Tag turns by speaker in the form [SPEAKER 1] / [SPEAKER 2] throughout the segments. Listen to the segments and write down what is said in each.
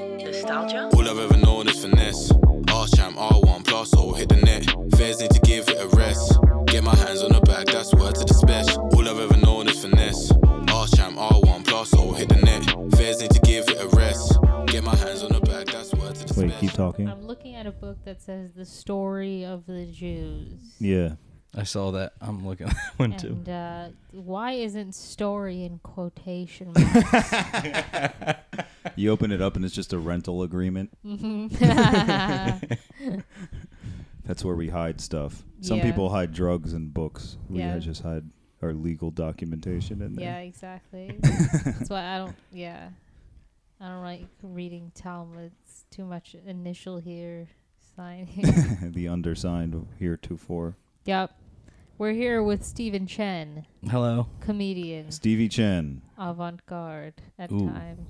[SPEAKER 1] Nostalgia?
[SPEAKER 2] All I've ever known is finesse. R champ, R1 plus, or hit the net. Fairs need to give it a rest. Get my hands on the bag, that's word to the special. All I've ever known is finesse. R champ, R1 plus, or hit the net. Fairs need to give it a rest. Get my hands on the bag, that's word to the
[SPEAKER 3] Wait,
[SPEAKER 2] special.
[SPEAKER 3] keep talking.
[SPEAKER 4] I'm looking at a book that says The Story of the Jews.
[SPEAKER 3] Yeah.
[SPEAKER 5] I saw that. I'm looking at that one too.
[SPEAKER 4] And uh, why isn't story in quotation marks?
[SPEAKER 3] You open it up and it's just a rental agreement. That's where we hide stuff. Some
[SPEAKER 4] Mm-hmm. Yeah.
[SPEAKER 3] people hide drugs and books. We
[SPEAKER 4] Yeah.
[SPEAKER 3] just hide our legal documentation in
[SPEAKER 4] yeah,
[SPEAKER 3] there.
[SPEAKER 4] exactly. That's why I don't. Yeah, I don't like reading Talmud. It's too much initial here, sign here.
[SPEAKER 3] the undersigned heretofore.
[SPEAKER 4] yep. We're here with Stephen Chen,
[SPEAKER 5] Hello.
[SPEAKER 4] comedian,
[SPEAKER 3] Stevie Chen.
[SPEAKER 4] avant-garde at
[SPEAKER 5] Ooh.
[SPEAKER 4] times.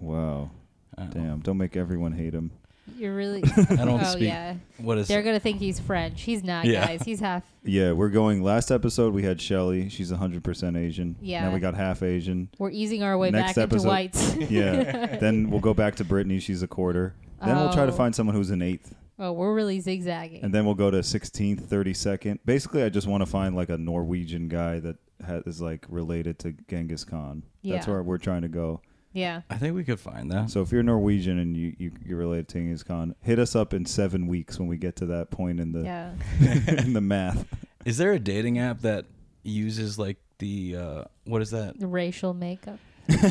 [SPEAKER 3] Wow.
[SPEAKER 5] Oh.
[SPEAKER 3] Damn. Don't make everyone hate him.
[SPEAKER 4] You're really.
[SPEAKER 5] I don't
[SPEAKER 4] oh
[SPEAKER 5] speak.
[SPEAKER 4] yeah,
[SPEAKER 5] What is?
[SPEAKER 4] they're gonna think he's French. He's not,
[SPEAKER 5] Yeah.
[SPEAKER 4] guys. He's half.
[SPEAKER 3] Yeah, we're going. Last episode we had Shelly. She's 100% Asian.
[SPEAKER 4] Yeah.
[SPEAKER 3] Now we got half Asian.
[SPEAKER 4] We're easing our way
[SPEAKER 3] Next
[SPEAKER 4] back into
[SPEAKER 3] episode-
[SPEAKER 4] whites.
[SPEAKER 3] Yeah. then we'll go back to Brittany. She's a quarter. Then we'll try to
[SPEAKER 4] Oh.
[SPEAKER 3] find someone who's an eighth.
[SPEAKER 4] oh, we're really zigzagging.
[SPEAKER 3] And then we'll go to 16th, 32nd. Basically, I just want to find like a Norwegian guy that ha- is like related to Genghis Khan. That's
[SPEAKER 4] Yeah.
[SPEAKER 3] where we're trying to go.
[SPEAKER 4] yeah.
[SPEAKER 5] I think we could find that.
[SPEAKER 3] So if you're Norwegian and you, you you're related to Genghis Khan, hit us up in seven weeks when we get to that point in the
[SPEAKER 4] Yeah.
[SPEAKER 3] in the math.
[SPEAKER 5] Is there a dating app that uses like the uh, what is that
[SPEAKER 4] The racial makeup.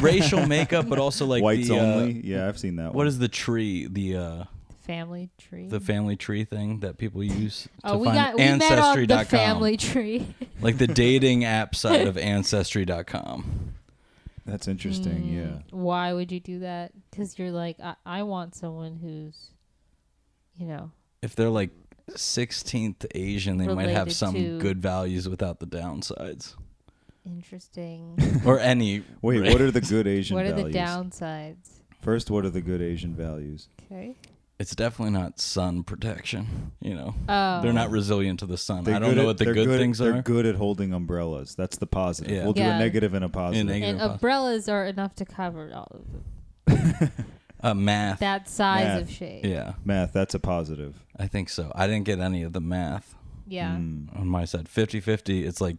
[SPEAKER 5] racial makeup, but also like
[SPEAKER 3] Whites
[SPEAKER 5] the, uh,
[SPEAKER 3] only. yeah, I've seen that.
[SPEAKER 5] what
[SPEAKER 3] one.
[SPEAKER 5] is the tree? The uh,
[SPEAKER 4] Family tree.
[SPEAKER 5] the family tree thing that people use to
[SPEAKER 4] oh, we
[SPEAKER 5] find
[SPEAKER 4] got we met on
[SPEAKER 5] ancestry.com,
[SPEAKER 4] the family tree.
[SPEAKER 5] like the dating app side of ancestry.com.
[SPEAKER 3] That's interesting.
[SPEAKER 4] Mm.
[SPEAKER 3] Yeah.
[SPEAKER 4] Why would you do that? Because you're like, I, I want someone who's, you know,
[SPEAKER 5] If they're like 16th Asian, they might have
[SPEAKER 4] Related
[SPEAKER 5] some
[SPEAKER 4] to-
[SPEAKER 5] good values without the downsides
[SPEAKER 4] interesting.
[SPEAKER 5] or any.
[SPEAKER 3] Wait, what are the good Asian
[SPEAKER 4] what are
[SPEAKER 3] values?
[SPEAKER 4] the downsides?
[SPEAKER 3] First, what are the good Asian values?
[SPEAKER 4] Okay.
[SPEAKER 5] It's definitely not sun protection. You know,
[SPEAKER 4] Oh.
[SPEAKER 5] they're not resilient to the sun.
[SPEAKER 3] They're
[SPEAKER 5] I don't
[SPEAKER 3] good
[SPEAKER 5] know
[SPEAKER 3] at-
[SPEAKER 5] what the
[SPEAKER 3] they're
[SPEAKER 5] good, things
[SPEAKER 3] they're
[SPEAKER 5] are.
[SPEAKER 3] good at holding umbrellas. That's the positive.
[SPEAKER 5] Yeah.
[SPEAKER 3] We'll do
[SPEAKER 4] Yeah.
[SPEAKER 3] a negative and a positive.
[SPEAKER 5] negative.
[SPEAKER 4] And
[SPEAKER 5] Either of us.
[SPEAKER 4] umbrellas are enough to cover all of them.
[SPEAKER 5] Uh, math.
[SPEAKER 4] that size
[SPEAKER 3] Math.
[SPEAKER 4] of shade.
[SPEAKER 5] yeah,
[SPEAKER 3] Math, that's a positive.
[SPEAKER 5] I think so. I didn't get any of the math
[SPEAKER 4] Yeah.
[SPEAKER 5] on my side. 50 50, it's like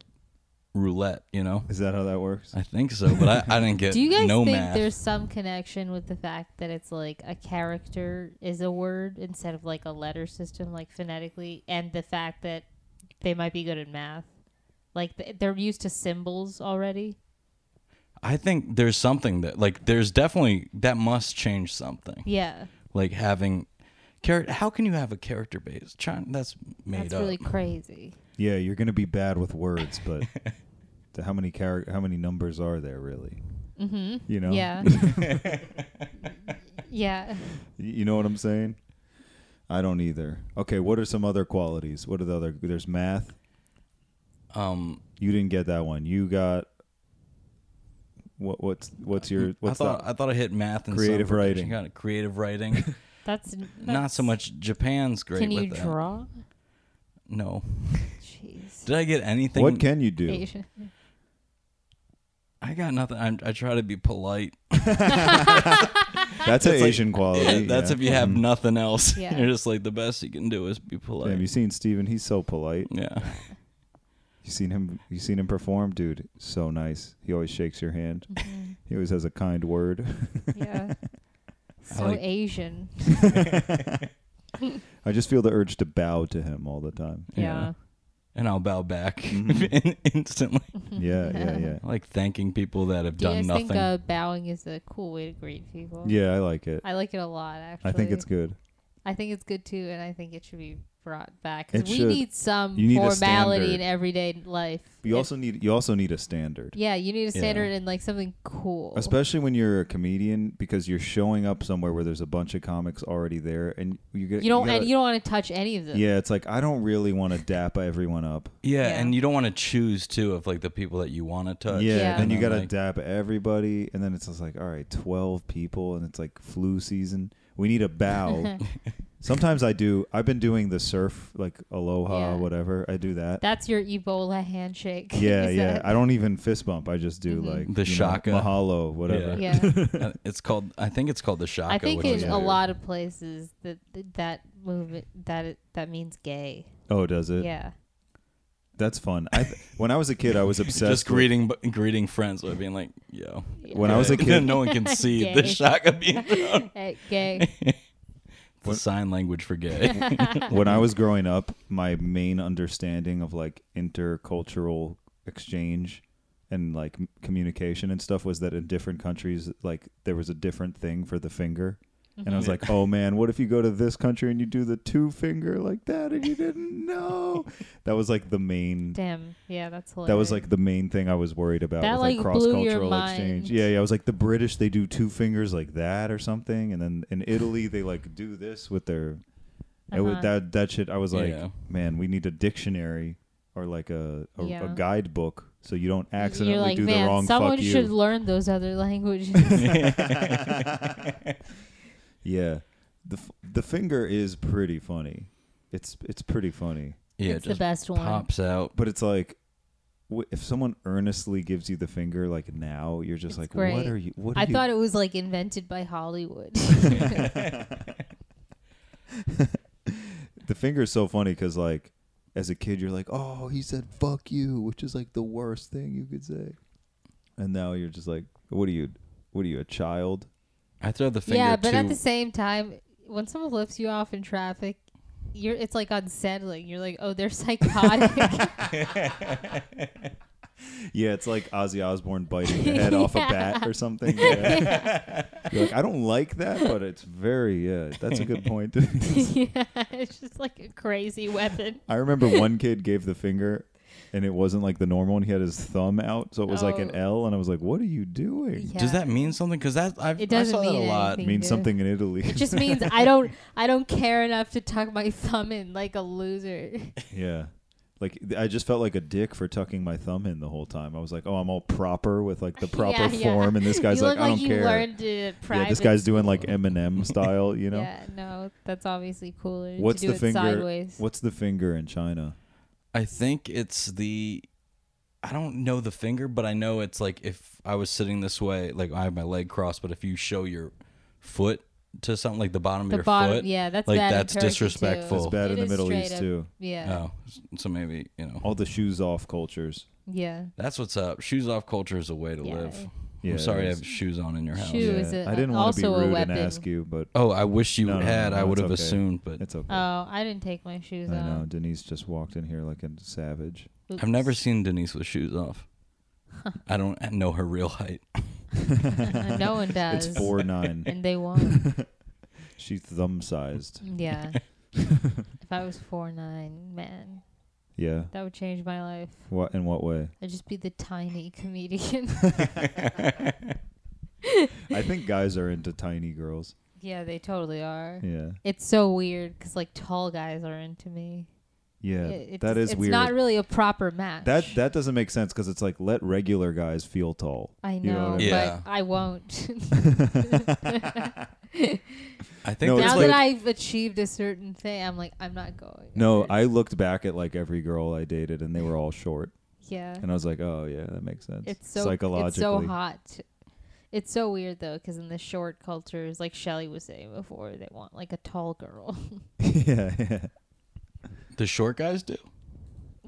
[SPEAKER 5] roulette, you know?
[SPEAKER 3] Is that how that works?
[SPEAKER 5] I think so, but I, I didn't get
[SPEAKER 4] Do you guys
[SPEAKER 5] no
[SPEAKER 4] think
[SPEAKER 5] math.
[SPEAKER 4] there's some connection with the fact that it's like a character is a word instead of like a letter system, like phonetically, and the fact that they might be good at math? Like th- they're used to symbols already.
[SPEAKER 5] I think there's something that, like, there's definitely, that must change something.
[SPEAKER 4] Yeah.
[SPEAKER 5] like having character. How can you have a character base? China, that's made
[SPEAKER 4] That's
[SPEAKER 5] up.
[SPEAKER 4] really crazy.
[SPEAKER 3] Yeah, you're gonna be bad with words, but the- how many char- how many numbers are there really? Mm-hmm. You know,
[SPEAKER 4] Yeah. yeah.
[SPEAKER 3] Y- you know what I'm saying. I don't either. Okay, what are some other qualities? What are the other? There's math.
[SPEAKER 5] um,
[SPEAKER 3] You didn't get that one. You got what? What's what's your
[SPEAKER 5] I
[SPEAKER 3] what's
[SPEAKER 5] thought
[SPEAKER 3] that?
[SPEAKER 5] I thought I hit math and
[SPEAKER 3] Creative
[SPEAKER 5] some
[SPEAKER 3] writing.
[SPEAKER 5] Kind of creative writing.
[SPEAKER 4] That's,
[SPEAKER 5] Not so much. Japan's great
[SPEAKER 4] Can
[SPEAKER 5] with
[SPEAKER 4] you
[SPEAKER 5] that.
[SPEAKER 4] draw?
[SPEAKER 5] No.
[SPEAKER 4] Jeez.
[SPEAKER 5] Did I get anything?
[SPEAKER 3] what can you do?
[SPEAKER 4] Asian.
[SPEAKER 5] I got nothing. I, I try to be polite.
[SPEAKER 3] That's an
[SPEAKER 5] like-
[SPEAKER 3] Asian quality.
[SPEAKER 5] That's
[SPEAKER 3] yeah.
[SPEAKER 5] if you have nothing else.
[SPEAKER 4] Yeah.
[SPEAKER 5] You're just like the best you can do is be polite.
[SPEAKER 3] Damn, you seen Steven? He's so polite.
[SPEAKER 5] yeah.
[SPEAKER 3] You seen him? You seen him perform, dude? So nice. He always shakes your hand. He always has a kind word.
[SPEAKER 4] Mm. Yeah. So
[SPEAKER 5] like-
[SPEAKER 4] Asian.
[SPEAKER 3] I just feel the urge to bow to him all the time.
[SPEAKER 5] Yeah.
[SPEAKER 4] Yeah.
[SPEAKER 5] And I'll bow back
[SPEAKER 3] Mm-hmm.
[SPEAKER 5] in- instantly.
[SPEAKER 3] Yeah, yeah, yeah.
[SPEAKER 5] I like thanking people that have
[SPEAKER 4] Do you
[SPEAKER 5] done
[SPEAKER 4] guys
[SPEAKER 5] nothing.
[SPEAKER 4] think uh, bowing is a cool way to greet people?
[SPEAKER 3] Yeah, I like it.
[SPEAKER 4] I like it a lot, actually.
[SPEAKER 3] I think it's good.
[SPEAKER 4] I think it's good too, and I think it should be brought back. 'Cause
[SPEAKER 3] It
[SPEAKER 4] we
[SPEAKER 3] should.
[SPEAKER 4] need some
[SPEAKER 3] You need a
[SPEAKER 4] formality in
[SPEAKER 3] standard.
[SPEAKER 4] everyday life.
[SPEAKER 3] You
[SPEAKER 4] If-
[SPEAKER 3] also need you also need a standard.
[SPEAKER 4] yeah, you need a
[SPEAKER 5] Yeah.
[SPEAKER 4] standard and like something cool.
[SPEAKER 3] Especially when you're a comedian because you're showing up somewhere where there's a bunch of comics already there and you get
[SPEAKER 4] you don't
[SPEAKER 3] gotta-
[SPEAKER 4] and you don't want to touch any of them.
[SPEAKER 3] Yeah, it's like I don't really want to dap everyone up.
[SPEAKER 5] yeah,
[SPEAKER 4] Yeah.
[SPEAKER 5] and you don't want to choose too of like the people that you want to touch.
[SPEAKER 3] Yeah,
[SPEAKER 4] Yeah.
[SPEAKER 3] then you
[SPEAKER 5] And
[SPEAKER 3] got to
[SPEAKER 5] then, like-
[SPEAKER 3] dap everybody and then it's just like all right, 12 people and it's like flu season. We need a bow. Sometimes I do. I've been doing the surf, like aloha,
[SPEAKER 4] Yeah.
[SPEAKER 3] whatever. I do that.
[SPEAKER 4] That's your Ebola handshake.
[SPEAKER 3] yeah,
[SPEAKER 4] Is
[SPEAKER 3] yeah.
[SPEAKER 4] that-
[SPEAKER 3] I don't even fist bump. I just do like
[SPEAKER 5] The
[SPEAKER 3] you know,
[SPEAKER 5] shaka.
[SPEAKER 3] mahalo, whatever.
[SPEAKER 4] Mm-hmm. Yeah.
[SPEAKER 5] Uh, it's called. I think it's called the shaka.
[SPEAKER 4] I think
[SPEAKER 5] which
[SPEAKER 4] in
[SPEAKER 5] is
[SPEAKER 4] a
[SPEAKER 5] weird.
[SPEAKER 4] lot of places that that movement that that means gay.
[SPEAKER 3] Oh, does it?
[SPEAKER 4] yeah.
[SPEAKER 3] That's fun. I th- when I was a kid, I was obsessed.
[SPEAKER 5] Just
[SPEAKER 3] with,
[SPEAKER 5] greeting, bu- greeting friends by being like, "Yo."
[SPEAKER 3] When I was a kid,
[SPEAKER 5] no one can see the
[SPEAKER 4] Gay.
[SPEAKER 5] shaka being. thrown.
[SPEAKER 4] Eh, gay.
[SPEAKER 5] It's the sign language for gay.
[SPEAKER 3] when I was growing up, my main understanding of like intercultural exchange and like m- communication and stuff was that in different countries, like there was a different thing for the finger. And
[SPEAKER 5] Mm-hmm.
[SPEAKER 3] I was like, "Oh man, what if you go to this country and you do the two finger like that and you didn't know?" That was like the main.
[SPEAKER 4] Damn. Yeah, that's hilarious.
[SPEAKER 3] That was like the main thing I was worried about
[SPEAKER 4] That,
[SPEAKER 3] with
[SPEAKER 4] like,
[SPEAKER 3] cross
[SPEAKER 4] blew your
[SPEAKER 3] cultural exchange.
[SPEAKER 4] mind.
[SPEAKER 3] Yeah, yeah. I was like the British they do two fingers like that or something, and then in Italy they like do this with their. It was,
[SPEAKER 4] Uh-huh.
[SPEAKER 3] that that shit. I was like,
[SPEAKER 5] Yeah.
[SPEAKER 3] man, we need a dictionary or like a a, a
[SPEAKER 4] Yeah.
[SPEAKER 3] guidebook so you don't accidentally
[SPEAKER 4] You're like,
[SPEAKER 3] do
[SPEAKER 4] man,
[SPEAKER 3] the wrong
[SPEAKER 4] someone
[SPEAKER 3] fuck
[SPEAKER 4] should
[SPEAKER 3] you.
[SPEAKER 4] learn those other languages.
[SPEAKER 3] yeah, the f- the finger is pretty funny. It's it's pretty funny.
[SPEAKER 5] yeah,
[SPEAKER 4] It's the
[SPEAKER 5] just
[SPEAKER 4] best one.
[SPEAKER 5] pops out.
[SPEAKER 3] but it's like w- if someone earnestly gives you the finger like now you're just like
[SPEAKER 4] It's
[SPEAKER 3] what
[SPEAKER 4] great.
[SPEAKER 3] are you what are
[SPEAKER 4] I
[SPEAKER 3] you
[SPEAKER 4] thought it was like invented by Hollywood.
[SPEAKER 3] the finger is so funny because like as a kid you're like oh he said fuck you which is like the worst thing you could say and now you're just like what are you what are you a child
[SPEAKER 5] I throw the finger.
[SPEAKER 4] yeah, but
[SPEAKER 5] too.
[SPEAKER 4] at the same time, when someone lifts you off in traffic, you're it's like unsettling. You're like, oh, they're psychotic.
[SPEAKER 3] yeah it's like ozzy osbourne biting the head off a bat or something Yeah. you're like i don't like that but it's very yeah that's a good point
[SPEAKER 4] yeah, it's just like a crazy weapon.
[SPEAKER 3] I remember one kid gave the finger and it wasn't like the normal one. He had his thumb out, so it was like an
[SPEAKER 4] Oh.
[SPEAKER 3] L and I was like, What are you doing?
[SPEAKER 4] Yeah.
[SPEAKER 5] Does that mean something? Because that I've,
[SPEAKER 4] It
[SPEAKER 5] I
[SPEAKER 4] doesn't
[SPEAKER 5] saw that a
[SPEAKER 4] mean
[SPEAKER 5] lot.
[SPEAKER 3] It
[SPEAKER 4] anything.
[SPEAKER 3] means
[SPEAKER 4] Yeah.
[SPEAKER 3] something in Italy.
[SPEAKER 4] It just means I don't I don't care enough to tuck my thumb in like a loser.
[SPEAKER 3] yeah. Like th- I just felt like a dick for tucking my thumb in the whole time. I was like, "Oh, I'm all proper with like the proper
[SPEAKER 4] Yeah, yeah.
[SPEAKER 3] form," and this guy's
[SPEAKER 4] you
[SPEAKER 3] like,
[SPEAKER 4] look
[SPEAKER 3] "I
[SPEAKER 4] like
[SPEAKER 3] don't
[SPEAKER 4] you
[SPEAKER 3] care."
[SPEAKER 4] learned it at private.
[SPEAKER 3] yeah, this guy's doing like Eminem style, you know.
[SPEAKER 4] Yeah, no, that's obviously cooler.
[SPEAKER 3] What's
[SPEAKER 4] to do
[SPEAKER 3] the
[SPEAKER 4] it
[SPEAKER 3] finger?
[SPEAKER 4] Sideways.
[SPEAKER 3] What's the finger in China?
[SPEAKER 5] I think it's the I don't know the finger, but I know it's like if I was sitting this way, like I have my leg crossed, but if you show your foot to something like the bottom
[SPEAKER 4] the
[SPEAKER 5] of your
[SPEAKER 4] bottom?
[SPEAKER 5] foot,
[SPEAKER 4] yeah, that's
[SPEAKER 5] like
[SPEAKER 4] bad in
[SPEAKER 5] that's
[SPEAKER 4] Turkey, too.
[SPEAKER 5] disrespectful.
[SPEAKER 3] It's bad
[SPEAKER 4] It
[SPEAKER 3] in the
[SPEAKER 4] is
[SPEAKER 3] Middle
[SPEAKER 4] straight
[SPEAKER 3] East
[SPEAKER 4] up-
[SPEAKER 3] too.
[SPEAKER 4] Yeah,
[SPEAKER 5] Oh, s- so maybe you know
[SPEAKER 3] All the shoes off cultures.
[SPEAKER 4] yeah.
[SPEAKER 5] that's what's up. Shoes off culture is a way to
[SPEAKER 4] Yeah.
[SPEAKER 5] live.
[SPEAKER 3] Yeah,
[SPEAKER 5] I'm
[SPEAKER 3] it
[SPEAKER 5] sorry I
[SPEAKER 3] is.
[SPEAKER 5] have shoes on in your house.
[SPEAKER 4] Shoe- Ooh, is it
[SPEAKER 3] I didn't
[SPEAKER 4] a-
[SPEAKER 3] want to be
[SPEAKER 4] also a
[SPEAKER 3] rude and
[SPEAKER 4] weapon?
[SPEAKER 3] ask you, but
[SPEAKER 5] Oh, I wish you
[SPEAKER 3] No, no,
[SPEAKER 5] had.
[SPEAKER 3] no,
[SPEAKER 5] I
[SPEAKER 3] no,
[SPEAKER 5] would
[SPEAKER 3] it's
[SPEAKER 5] have
[SPEAKER 3] okay.
[SPEAKER 5] assumed, but
[SPEAKER 3] it's okay.
[SPEAKER 4] Oh, I didn't take my shoes
[SPEAKER 3] I know.
[SPEAKER 4] off.
[SPEAKER 3] Denise just walked in here like a savage.
[SPEAKER 5] I've never seen Denise with shoes off. I don't know her real height.
[SPEAKER 4] no one does.
[SPEAKER 3] It's four nine.
[SPEAKER 4] and they won't.
[SPEAKER 3] She's thumb sized.
[SPEAKER 4] Yeah. if I was four nine, man,
[SPEAKER 3] Yeah.
[SPEAKER 4] that would change my life.
[SPEAKER 3] What in what way?
[SPEAKER 4] I'd just be the tiny comedian.
[SPEAKER 3] I think guys are into tiny girls.
[SPEAKER 4] yeah, they totally are.
[SPEAKER 3] Yeah.
[SPEAKER 4] It's so weird because like tall guys are into me.
[SPEAKER 3] Yeah.
[SPEAKER 4] It- it's,
[SPEAKER 3] that is
[SPEAKER 4] it's
[SPEAKER 3] weird.
[SPEAKER 4] not really a proper match.
[SPEAKER 3] that that doesn't make sense because it's like let regular guys feel tall.
[SPEAKER 4] I
[SPEAKER 3] You know
[SPEAKER 4] know,
[SPEAKER 3] what I
[SPEAKER 4] but
[SPEAKER 5] mean? Yeah.
[SPEAKER 4] I won't.
[SPEAKER 5] I think
[SPEAKER 3] No,
[SPEAKER 5] that's
[SPEAKER 4] now
[SPEAKER 3] like-
[SPEAKER 4] that I've achieved a certain thing, I'm like, I'm not going.
[SPEAKER 3] No, I looked back at like every girl I dated and they were all short,
[SPEAKER 4] Yeah.
[SPEAKER 3] and I was like, oh yeah, that makes sense.
[SPEAKER 4] It's so
[SPEAKER 3] psychologically.
[SPEAKER 4] It's so hot. It's so weird though, because in the short cultures, like Shelly was saying before, they want like a tall girl.
[SPEAKER 3] yeah, yeah.
[SPEAKER 5] the short guys do.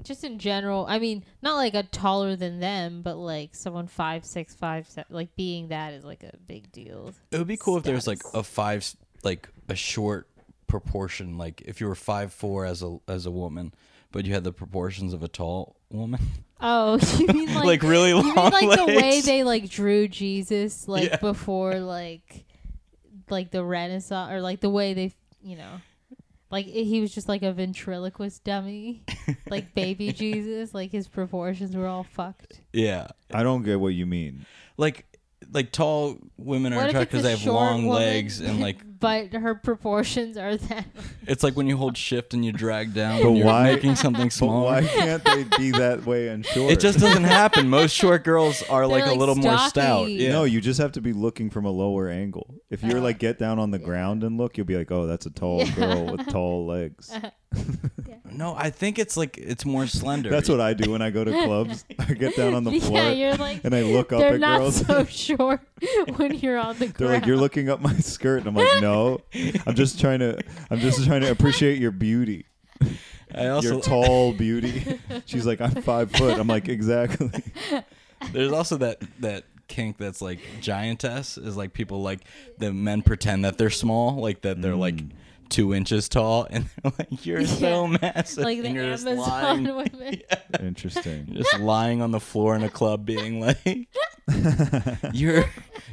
[SPEAKER 4] Just in general, I mean, not like a taller than them, but like someone five six five seven, like being that is like a big deal.
[SPEAKER 5] It would be cool if there was like
[SPEAKER 4] Status.
[SPEAKER 5] a five, like a short proportion. Like if you were five four as a as a woman, but you had the proportions of a tall woman,
[SPEAKER 4] Oh, you mean like,
[SPEAKER 5] like really long
[SPEAKER 4] you mean like
[SPEAKER 5] legs.
[SPEAKER 4] the way they like drew Jesus, like
[SPEAKER 5] Yeah.
[SPEAKER 4] before like like the Renaissance, or like the way they, you know. Like i- he was just like a ventriloquist dummy, like baby Jesus. Like his proportions were all fucked.
[SPEAKER 5] yeah,
[SPEAKER 3] I don't get what you mean.
[SPEAKER 5] like like tall women are
[SPEAKER 4] What if
[SPEAKER 5] attracted
[SPEAKER 4] it's a
[SPEAKER 5] because they have
[SPEAKER 4] short
[SPEAKER 5] long
[SPEAKER 4] woman,
[SPEAKER 5] legs and like
[SPEAKER 4] but her proportions are that.
[SPEAKER 5] it's like when you hold shift and you drag down.
[SPEAKER 3] But
[SPEAKER 5] you're
[SPEAKER 3] why-
[SPEAKER 5] making something
[SPEAKER 3] But
[SPEAKER 5] smaller?
[SPEAKER 3] why can't they be that way and short?
[SPEAKER 5] It just doesn't happen. Most short girls are like,
[SPEAKER 4] like,
[SPEAKER 5] a little more stout.
[SPEAKER 4] stocky.
[SPEAKER 5] Yeah.
[SPEAKER 3] No, you just have to be looking from a lower angle. If you're
[SPEAKER 4] Uh,
[SPEAKER 3] like get down on the ground and look, you'll be like, oh, that's a tall girl with tall legs.
[SPEAKER 5] No, I think it's like it's more slender.
[SPEAKER 3] That's what I do when I go to clubs. I get down on the floor
[SPEAKER 4] yeah, you're like
[SPEAKER 3] and I look up
[SPEAKER 4] they're
[SPEAKER 3] at
[SPEAKER 4] not
[SPEAKER 3] girls.
[SPEAKER 4] so short when you're on the ground.
[SPEAKER 3] They're like, you're looking up my skirt, and I'm like, no, I'm just trying to, I'm just trying to appreciate your beauty,
[SPEAKER 5] I also
[SPEAKER 3] your tall beauty. She's like, I'm five foot. I'm like, exactly.
[SPEAKER 5] there's also that that kink that's like giantess is like people like the men pretend that they're small, like that they're like
[SPEAKER 3] Mm.
[SPEAKER 5] two inches tall, and they're like you're so
[SPEAKER 4] Yeah.
[SPEAKER 5] massive,
[SPEAKER 4] like the
[SPEAKER 5] and you're just
[SPEAKER 4] Amazon
[SPEAKER 5] lying,
[SPEAKER 4] women.
[SPEAKER 3] Interesting.
[SPEAKER 5] you're just lying on the floor in a club, being like you're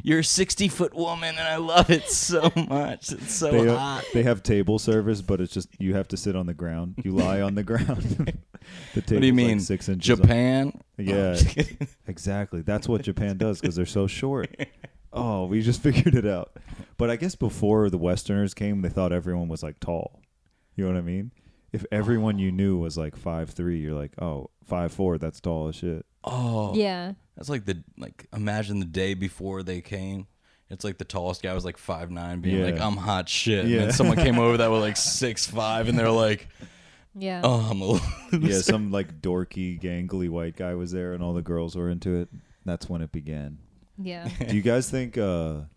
[SPEAKER 5] you're a sixty foot woman, and I love it so much. It's so
[SPEAKER 3] They, uh,
[SPEAKER 5] hot.
[SPEAKER 3] they have table service, but it's just you have to sit on the ground. You lie on the ground. the
[SPEAKER 5] What do you
[SPEAKER 3] table's like
[SPEAKER 5] mean?
[SPEAKER 3] six inches. up.
[SPEAKER 5] Japan? Oh,
[SPEAKER 3] Yeah. Exactly. That's what Japan does because they're so short. Oh, we just figured it out. But I guess before the Westerners came, they thought everyone was like tall. You know what I mean? If everyone you knew was like five three, you're like, oh, five four, that's tall as shit.
[SPEAKER 5] Oh,
[SPEAKER 4] Yeah.
[SPEAKER 5] That's like the like imagine the day before they came. It's like the tallest guy was like five nine, being like,
[SPEAKER 3] Yeah.
[SPEAKER 5] "I'm hot shit." And
[SPEAKER 3] Yeah.
[SPEAKER 5] then someone came over that was like six five, and they're like,
[SPEAKER 4] Yeah.
[SPEAKER 5] "Oh, I'm a loser."
[SPEAKER 3] Yeah, some like dorky, gangly white guy was there, and all the girls were into it. That's when it began.
[SPEAKER 4] Yeah.
[SPEAKER 3] do you guys think? uh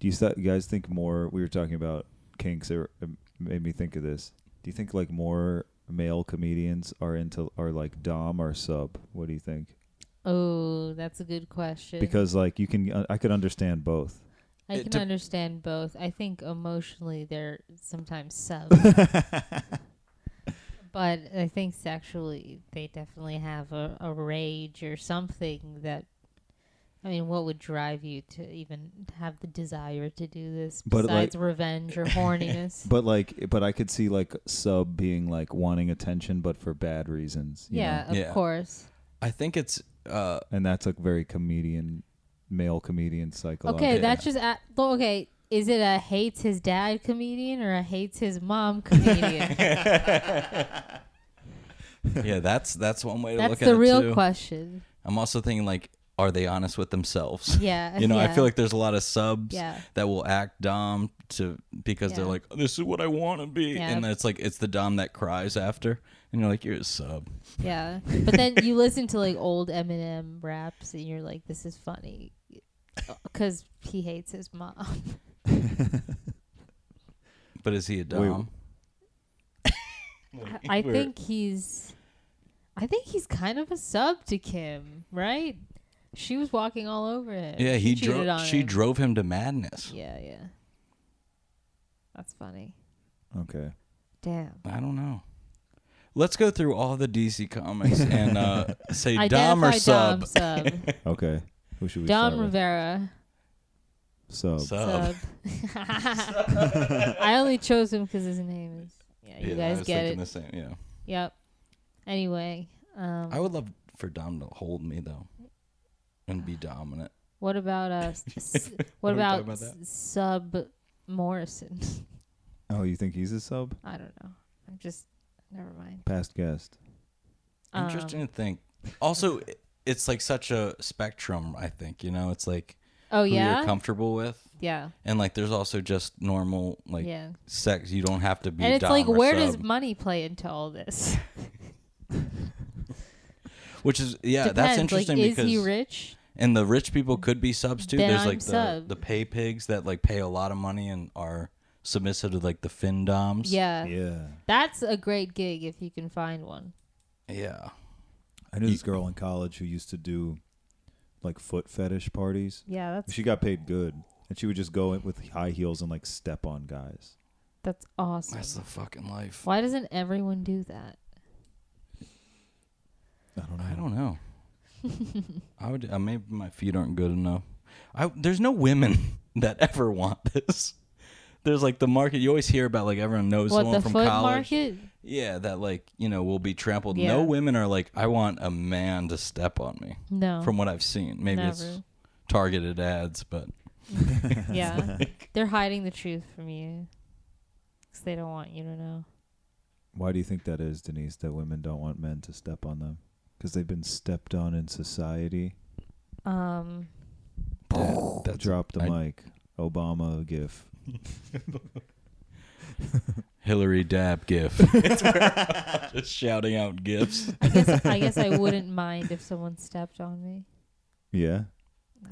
[SPEAKER 3] Do you, th- you guys think more? We were talking about kinks. It it made me think of this. Do you think like more male comedians are into are like dom or sub? What do you think?
[SPEAKER 4] Oh, that's a good question.
[SPEAKER 3] because like you can uh, I could understand both.
[SPEAKER 4] I
[SPEAKER 5] It
[SPEAKER 4] can
[SPEAKER 5] dep-
[SPEAKER 4] understand both. I think emotionally they're sometimes sub. but I think sexually they definitely have a, a rage or something that I mean, what would drive you to even have the desire to do this
[SPEAKER 3] But, like-
[SPEAKER 4] besides revenge or horniness?
[SPEAKER 3] But like but I could see like sub being like wanting attention but for bad reasons. you
[SPEAKER 4] yeah,
[SPEAKER 3] know?
[SPEAKER 4] of
[SPEAKER 5] Yeah.
[SPEAKER 4] course.
[SPEAKER 5] I think it's uh,
[SPEAKER 3] And that's like very comedian male comedian psychology.
[SPEAKER 4] Okay, that's just a- well, okay. Is it a hates his dad comedian or a hates his mom comedian?
[SPEAKER 5] yeah, that's that's one way to
[SPEAKER 4] That's
[SPEAKER 5] look at
[SPEAKER 4] the
[SPEAKER 5] it
[SPEAKER 4] real
[SPEAKER 5] too.
[SPEAKER 4] question.
[SPEAKER 5] I'm also thinking like, are they honest with themselves?
[SPEAKER 4] Yeah,
[SPEAKER 5] you know, I
[SPEAKER 4] yeah.
[SPEAKER 5] feel like there's a lot of subs
[SPEAKER 4] Yeah.
[SPEAKER 5] that will act dom to because they're
[SPEAKER 4] Yeah.
[SPEAKER 5] like, "This is what I want to be,"
[SPEAKER 4] Yeah.
[SPEAKER 5] and it's like it's the dom that cries after, and you're like, "You're a sub."
[SPEAKER 4] Yeah, but then you listen to like old Eminem raps, and you're like, "This is funny," because he hates his mom.
[SPEAKER 5] But is he a
[SPEAKER 3] Wait,
[SPEAKER 5] dom?
[SPEAKER 4] I
[SPEAKER 5] Where-
[SPEAKER 4] think he's, I think he's kind of a sub to Kim, right? She was walking all over him.
[SPEAKER 5] Yeah, he
[SPEAKER 4] cheated
[SPEAKER 5] drove.
[SPEAKER 4] on
[SPEAKER 5] She
[SPEAKER 4] him.
[SPEAKER 5] drove him to madness.
[SPEAKER 4] Yeah, yeah. That's funny.
[SPEAKER 3] okay.
[SPEAKER 4] Damn.
[SPEAKER 5] I don't know. Let's go through all the DC comics and uh, say Dom or
[SPEAKER 4] Identify
[SPEAKER 5] sub.
[SPEAKER 4] Dom sub.
[SPEAKER 3] Okay. Who should we
[SPEAKER 4] Dom
[SPEAKER 3] start with?
[SPEAKER 4] Rivera
[SPEAKER 3] Sub.
[SPEAKER 5] Sub.
[SPEAKER 4] sub. I only chose him because his name is. Yeah, you
[SPEAKER 5] I
[SPEAKER 4] guys
[SPEAKER 5] was
[SPEAKER 4] get it.
[SPEAKER 5] thinking the same. Yeah.
[SPEAKER 4] Yep. Anyway, um,
[SPEAKER 5] I would love for Dom to hold me though, and be dominant.
[SPEAKER 4] what about uh, s- s- what
[SPEAKER 5] What are we
[SPEAKER 4] about,
[SPEAKER 5] talking about
[SPEAKER 4] s-
[SPEAKER 5] that?
[SPEAKER 4] Sub Morrison?
[SPEAKER 3] Oh, you think he's a sub?
[SPEAKER 4] I don't know. I'm just never mind.
[SPEAKER 3] Past guest.
[SPEAKER 4] Um,
[SPEAKER 5] Interesting to think. Also, i- it's like such a spectrum. I think you know, it's like
[SPEAKER 4] Oh
[SPEAKER 5] who
[SPEAKER 4] yeah,
[SPEAKER 5] you're comfortable with,
[SPEAKER 4] yeah,
[SPEAKER 5] and like there's also just normal like
[SPEAKER 4] yeah.
[SPEAKER 5] sex. You don't have to be.
[SPEAKER 4] And it's
[SPEAKER 5] Dom
[SPEAKER 4] like,
[SPEAKER 5] or
[SPEAKER 4] where
[SPEAKER 5] sub,
[SPEAKER 4] does money play into all this?
[SPEAKER 5] which is yeah, that's
[SPEAKER 4] Depends.
[SPEAKER 5] interesting
[SPEAKER 4] Like,
[SPEAKER 5] because
[SPEAKER 4] is he rich?
[SPEAKER 5] and the rich people could be subs too.
[SPEAKER 4] Then
[SPEAKER 5] There's
[SPEAKER 4] I'm
[SPEAKER 5] like
[SPEAKER 4] sub.
[SPEAKER 5] the the pay pigs that like pay a lot of money and are submissive to like the fin doms.
[SPEAKER 4] Yeah.
[SPEAKER 3] Yeah.
[SPEAKER 4] that's a great gig if you can find one.
[SPEAKER 5] yeah.
[SPEAKER 3] I
[SPEAKER 5] E
[SPEAKER 3] knew this girl in college who used to do like foot fetish parties.
[SPEAKER 4] Yeah, that's
[SPEAKER 3] She got paid good. And she would just go in with high heels and like step on guys.
[SPEAKER 4] that's awesome.
[SPEAKER 5] That's the fucking life.
[SPEAKER 4] Why doesn't everyone do that?
[SPEAKER 3] I don't know.
[SPEAKER 5] I don't know. I would. Uh, maybe my feet aren't good enough. I there's no women that ever want this. There's like the market you always hear about. Like everyone knows
[SPEAKER 4] what
[SPEAKER 5] someone
[SPEAKER 4] the
[SPEAKER 5] from
[SPEAKER 4] foot
[SPEAKER 5] college.
[SPEAKER 4] market?
[SPEAKER 5] Yeah, that like you know will be trampled. No
[SPEAKER 4] Yeah.
[SPEAKER 5] women are like I want a man to step on me.
[SPEAKER 4] No,
[SPEAKER 5] From what I've seen, maybe it's
[SPEAKER 4] Never.
[SPEAKER 5] targeted ads, but
[SPEAKER 4] Yeah. They're hiding the truth from you because they don't want you to know.
[SPEAKER 3] Why do you think that is, Denise? That women don't want men to step on them because they've been stepped on in society.
[SPEAKER 4] Um,
[SPEAKER 5] that, that's
[SPEAKER 3] Drop the
[SPEAKER 5] I-
[SPEAKER 3] mic. Obama gif.
[SPEAKER 5] Hillary Dab GIF. Just shouting out GIFs.
[SPEAKER 4] I guess I guess I wouldn't mind if someone stepped on me.
[SPEAKER 3] Yeah.
[SPEAKER 4] No.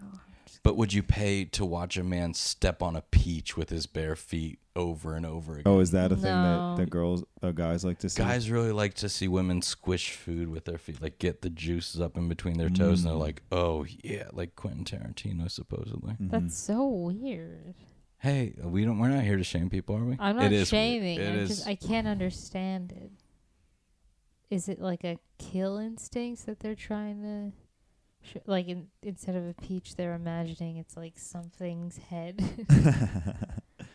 [SPEAKER 5] But would you pay to watch a man step on a peach with his bare feet over and over again?
[SPEAKER 3] Oh, is that a thing that,
[SPEAKER 4] No.
[SPEAKER 3] that girls, uh, guys like to see?
[SPEAKER 5] Guys really like to see women squish food with their feet, like get the juices up in between their toes,
[SPEAKER 3] Mm.
[SPEAKER 5] and they're like, "Oh yeah," like Quentin Tarantino supposedly.
[SPEAKER 3] Mm-hmm.
[SPEAKER 4] That's so weird.
[SPEAKER 5] Hey, we don't. We're not here to shame people, are we?
[SPEAKER 4] I'm not
[SPEAKER 5] It is-
[SPEAKER 4] shaming.
[SPEAKER 5] It
[SPEAKER 4] I'm
[SPEAKER 5] is.
[SPEAKER 4] just I can't understand it. Is it like a kill instincts that they're trying to, sh- like in, instead of a peach, they're imagining it's like something's head.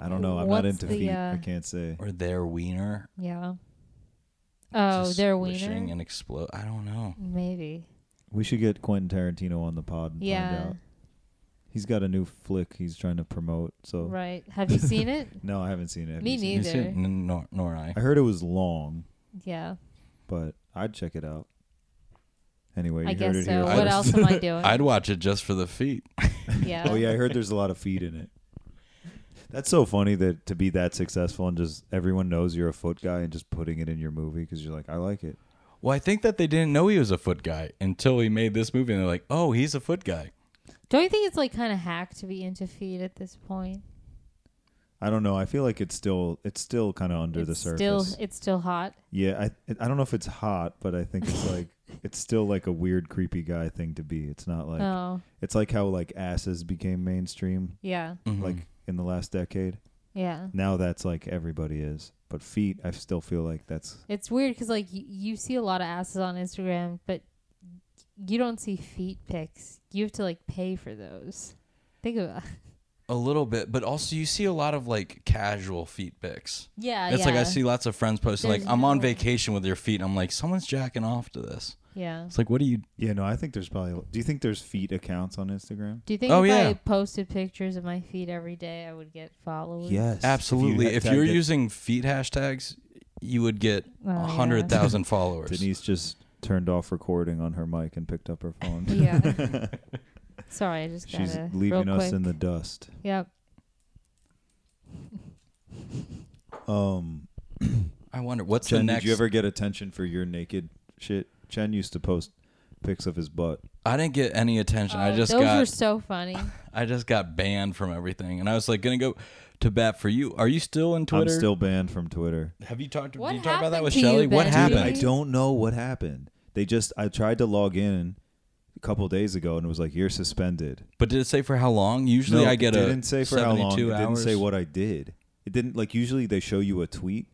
[SPEAKER 3] I don't know. I'm not
[SPEAKER 4] What's
[SPEAKER 3] into
[SPEAKER 4] the,
[SPEAKER 3] feet.
[SPEAKER 4] uh,
[SPEAKER 3] I can't say.
[SPEAKER 5] or their wiener.
[SPEAKER 4] yeah. Oh,
[SPEAKER 5] just
[SPEAKER 4] they're
[SPEAKER 5] swishing
[SPEAKER 4] wiener.
[SPEAKER 5] and explode. I don't know.
[SPEAKER 4] Maybe.
[SPEAKER 3] We should get Quentin Tarantino on the pod and find
[SPEAKER 4] Yeah.
[SPEAKER 3] out. He's got a new flick he's trying to promote. So
[SPEAKER 4] Right. Have you seen it?
[SPEAKER 3] no, I haven't seen it. Have
[SPEAKER 4] Me
[SPEAKER 3] you seen
[SPEAKER 5] You
[SPEAKER 3] it?
[SPEAKER 5] see-
[SPEAKER 4] Neither.
[SPEAKER 5] n- nor, nor I.
[SPEAKER 3] I heard it was long,
[SPEAKER 4] Yeah.
[SPEAKER 3] but I'd check it out. Anyway, you
[SPEAKER 4] I
[SPEAKER 3] heard
[SPEAKER 4] guess
[SPEAKER 3] it
[SPEAKER 4] so.
[SPEAKER 3] here.
[SPEAKER 4] What
[SPEAKER 5] I-
[SPEAKER 4] else am I doing?
[SPEAKER 5] I'd watch it just for the feet.
[SPEAKER 4] yeah.
[SPEAKER 3] Oh yeah, I heard there's a lot of feet in it. That's so funny that to be that successful and just everyone knows you're a foot guy and just putting it in your movie because you're like, I like it.
[SPEAKER 5] Well, I think that they didn't know he was a foot guy until he made this movie, and they're like, "Oh, he's a foot guy."
[SPEAKER 4] Don't you think it's like kind of hack to be into feet at this point?
[SPEAKER 3] I don't know. I feel like it's still it's still kind of under the
[SPEAKER 4] it's
[SPEAKER 3] surface.
[SPEAKER 4] still it's still hot.
[SPEAKER 3] Yeah, I I don't know if it's hot, but I think it's like it's still like a weird creepy guy thing to be. It's not like
[SPEAKER 4] oh
[SPEAKER 3] it's like how like asses became mainstream
[SPEAKER 4] yeah,
[SPEAKER 3] like in the last decade.
[SPEAKER 4] yeah.
[SPEAKER 3] Now that's like everybody is. But feet, I still feel like that's
[SPEAKER 4] It's weird because like you, you see a lot of asses on Instagram, but you don't see feet pics. You have to like pay for those. Think about
[SPEAKER 5] a little bit, but also you see a lot of like casual feet pics.
[SPEAKER 4] Uh, yeah.
[SPEAKER 5] It's like I see lots of friends posting like,
[SPEAKER 4] There's
[SPEAKER 5] "I'm on
[SPEAKER 4] no-
[SPEAKER 5] vacation with your feet." and I'm like, "Someone's jacking off to this."
[SPEAKER 4] Yeah.
[SPEAKER 5] It's like, "What are you?"
[SPEAKER 3] Yeah, no, I think there's probably Do you think there's feet accounts on Instagram?
[SPEAKER 4] Do you think
[SPEAKER 5] Oh,
[SPEAKER 4] if
[SPEAKER 5] yeah.
[SPEAKER 4] I posted pictures of my feet every day, I would get followers?
[SPEAKER 5] Absolutely. If, you are
[SPEAKER 3] using
[SPEAKER 5] using feet hashtags, you would get
[SPEAKER 4] Oh, yeah.
[SPEAKER 5] hundred thousand followers.
[SPEAKER 3] Denise just turned off recording on her mic and picked up her phone.
[SPEAKER 4] Yeah. Sorry, I just gotta.
[SPEAKER 3] She's
[SPEAKER 4] real
[SPEAKER 3] leaving us
[SPEAKER 4] quick.
[SPEAKER 3] in the dust.
[SPEAKER 4] Yep.
[SPEAKER 3] Um
[SPEAKER 5] I wonder what's
[SPEAKER 3] Chen,
[SPEAKER 5] the next.
[SPEAKER 3] did you ever get attention for your naked shit? Chen used to post pics of his butt.
[SPEAKER 5] I didn't get any attention. I
[SPEAKER 4] Oh,
[SPEAKER 5] just
[SPEAKER 4] those
[SPEAKER 5] got
[SPEAKER 4] were so funny.
[SPEAKER 5] I just got banned from everything, and I was like, gonna go to bat for you. Are you still in Twitter?
[SPEAKER 3] I'm still banned from Twitter.
[SPEAKER 5] Have you talked?
[SPEAKER 4] What
[SPEAKER 5] did you talk about that
[SPEAKER 4] happened
[SPEAKER 5] with
[SPEAKER 4] to you,
[SPEAKER 5] Shelly? What
[SPEAKER 4] Ben?
[SPEAKER 5] happened?
[SPEAKER 4] Dude,
[SPEAKER 3] I don't know what happened. They just I tried to log in a couple days ago and it was like you're suspended.
[SPEAKER 5] But did it say for how long? Usually,
[SPEAKER 3] No,
[SPEAKER 5] I get
[SPEAKER 3] it
[SPEAKER 5] a
[SPEAKER 3] didn't say for how long.
[SPEAKER 5] 72
[SPEAKER 3] It didn't
[SPEAKER 5] hours.
[SPEAKER 3] say what I did. It didn't like usually they show you a tweet.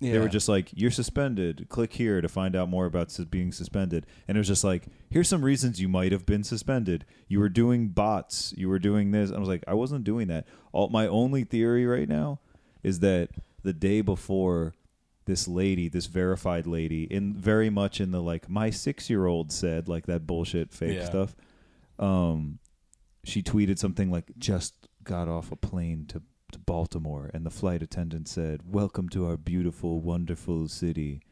[SPEAKER 3] They
[SPEAKER 5] Yeah.
[SPEAKER 3] were just like you're suspended. Click here to find out more about sus- being suspended. And it was just like here's some reasons you might have been suspended. You were doing bots. You were doing this. I was like I wasn't doing that. All my only theory right now is that the day before this lady, this verified lady, in very much in the like my six year old said like that bullshit fake
[SPEAKER 5] Yeah.
[SPEAKER 3] stuff Um, she tweeted something like just got off a plane to, to baltimore and the flight attendant said welcome to our beautiful wonderful city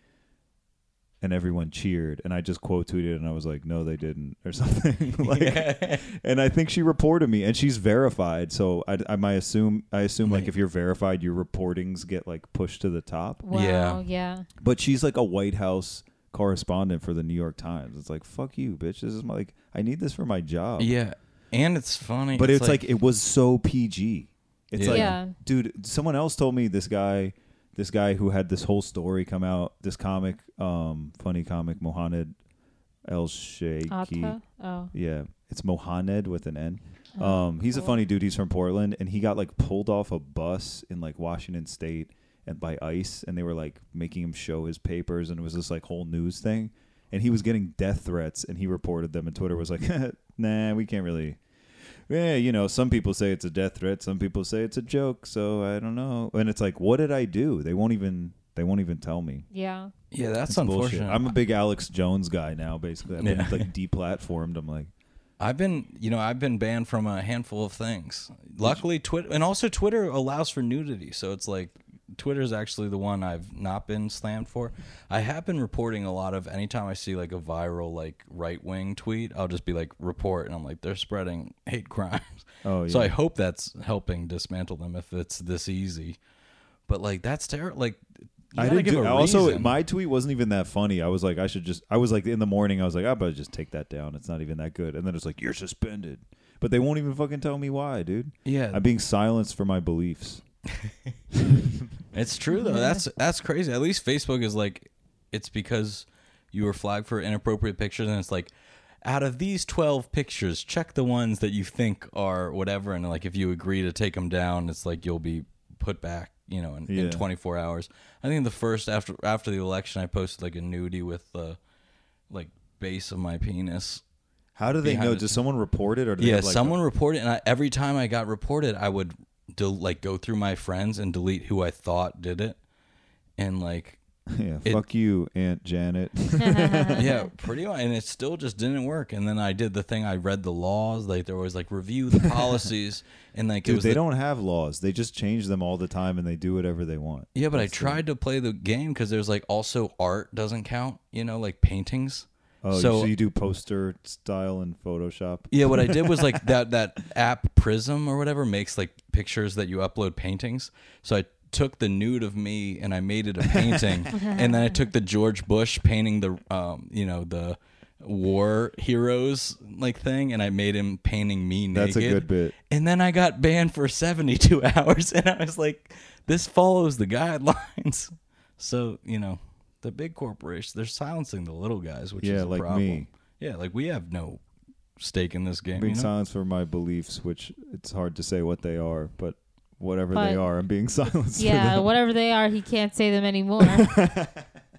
[SPEAKER 3] and everyone cheered and i just quote tweeted and i was like no they didn't or something like and i think she reported me and she's verified so i, I might assume i assume like if you're verified your reportings get like pushed to the top
[SPEAKER 4] Wow.
[SPEAKER 5] Yeah.
[SPEAKER 4] Yeah.
[SPEAKER 3] but she's like a White House correspondent for the New York Times. It's like fuck you, bitch. This is my, like I need this for my job.
[SPEAKER 5] Yeah, and it's funny.
[SPEAKER 3] But it's, like, it was so PG. It's
[SPEAKER 5] Yeah.
[SPEAKER 3] like,
[SPEAKER 4] Yeah.
[SPEAKER 3] dude, someone else told me this guy, this guy who had this whole story come out, this comic, um, funny comic, Mohamed El Sheikhi.
[SPEAKER 4] Atta. Oh.
[SPEAKER 3] Yeah, it's Mohamed with an N. Um, he's a funny dude. He's from Portland, and he got like pulled off a bus in like Washington State and by ICE, and they were like making him show his papers, and it was this like whole news thing. And he was getting death threats, and he reported them, and Twitter was like, "Nah, we can't really." Yeah, you know, some people say it's a death threat, some people say it's a joke, so I don't know. And it's like, what did I do? They won't even they won't even tell me.
[SPEAKER 4] Yeah.
[SPEAKER 5] yeah, that's
[SPEAKER 3] Bullshit.
[SPEAKER 5] unfortunate.
[SPEAKER 3] I'm a big Alex Jones guy now, basically. I've been
[SPEAKER 5] Yeah.
[SPEAKER 3] like deplatformed. I'm like,
[SPEAKER 5] I I've been, you know, I've been banned from a handful of things. Luckily, Twitter and also Twitter allows for nudity, so it's like Twitter's actually the one I've not been slammed for. I have been reporting a lot of anytime I see like a viral like right wing tweet, I'll just be like report, and I'm like they're spreading hate crimes.
[SPEAKER 3] Oh,
[SPEAKER 5] so
[SPEAKER 3] yeah.
[SPEAKER 5] I hope that's helping dismantle them if it's this easy. But like that's terrible. Like you
[SPEAKER 3] I
[SPEAKER 5] gotta
[SPEAKER 3] didn't
[SPEAKER 5] give
[SPEAKER 3] do,
[SPEAKER 5] a
[SPEAKER 3] also
[SPEAKER 5] reason.
[SPEAKER 3] my tweet wasn't even that funny. I was like, I should just. I was like in the morning. I was like, I better just take that down. It's not even that good. And then it's like you're suspended, but they won't even fucking tell me why, dude.
[SPEAKER 5] Yeah.
[SPEAKER 3] I'm being silenced for my beliefs.
[SPEAKER 5] It's true though. That's that's crazy. At least Facebook is like, it's because you were flagged for inappropriate pictures, and it's like, out of these twelve pictures, check the ones that you think are whatever, and like if you agree to take them down, it's like you'll be put back, you know, in,
[SPEAKER 3] Yeah.
[SPEAKER 5] in twenty four hours. I think the first after after the election, I posted like a nudie with the like base of my penis.
[SPEAKER 3] How do they
[SPEAKER 5] Behind
[SPEAKER 3] know?
[SPEAKER 5] the
[SPEAKER 3] Does someone report it or do they
[SPEAKER 5] Yeah,
[SPEAKER 3] have, like,
[SPEAKER 5] someone reported, and I, every time I got reported, I would del- like go through my friends and delete who I thought did it, and like
[SPEAKER 3] Yeah,
[SPEAKER 5] it-
[SPEAKER 3] fuck you, Aunt Janet.
[SPEAKER 5] yeah, pretty much. And it still just didn't work. And then I did the thing. I read the laws. Like there was like review the policies, and like it
[SPEAKER 3] Dude,
[SPEAKER 5] was
[SPEAKER 3] they
[SPEAKER 5] the-
[SPEAKER 3] don't have laws. They just change them all the time, and they do whatever they want.
[SPEAKER 5] Yeah, but I tried to play the game because there's like also art doesn't count. You know, like paintings.
[SPEAKER 3] Oh, so,
[SPEAKER 5] so
[SPEAKER 3] you do poster style in Photoshop?
[SPEAKER 5] yeah, what I did was like that that app Prism or whatever makes like pictures that you upload paintings. So I took the nude of me and I made it a painting, and then I took the George Bush painting the um you know the war heroes like thing, and I made him painting me naked.
[SPEAKER 3] That's a good bit.
[SPEAKER 5] And then I got banned for 72 hours, and I was like, this follows the guidelines. So, you know, the big corporations, they're silencing the little guys, which
[SPEAKER 3] Yeah,
[SPEAKER 5] is a
[SPEAKER 3] like
[SPEAKER 5] problem.
[SPEAKER 3] me.
[SPEAKER 5] Yeah, like we have no stake in this game.
[SPEAKER 3] being
[SPEAKER 5] you know?
[SPEAKER 3] silenced for my beliefs, which it's hard to say what they are, but whatever they
[SPEAKER 4] But-
[SPEAKER 3] are, I'm being silenced. for
[SPEAKER 4] yeah,
[SPEAKER 3] them.
[SPEAKER 4] whatever they are, he can't say them anymore.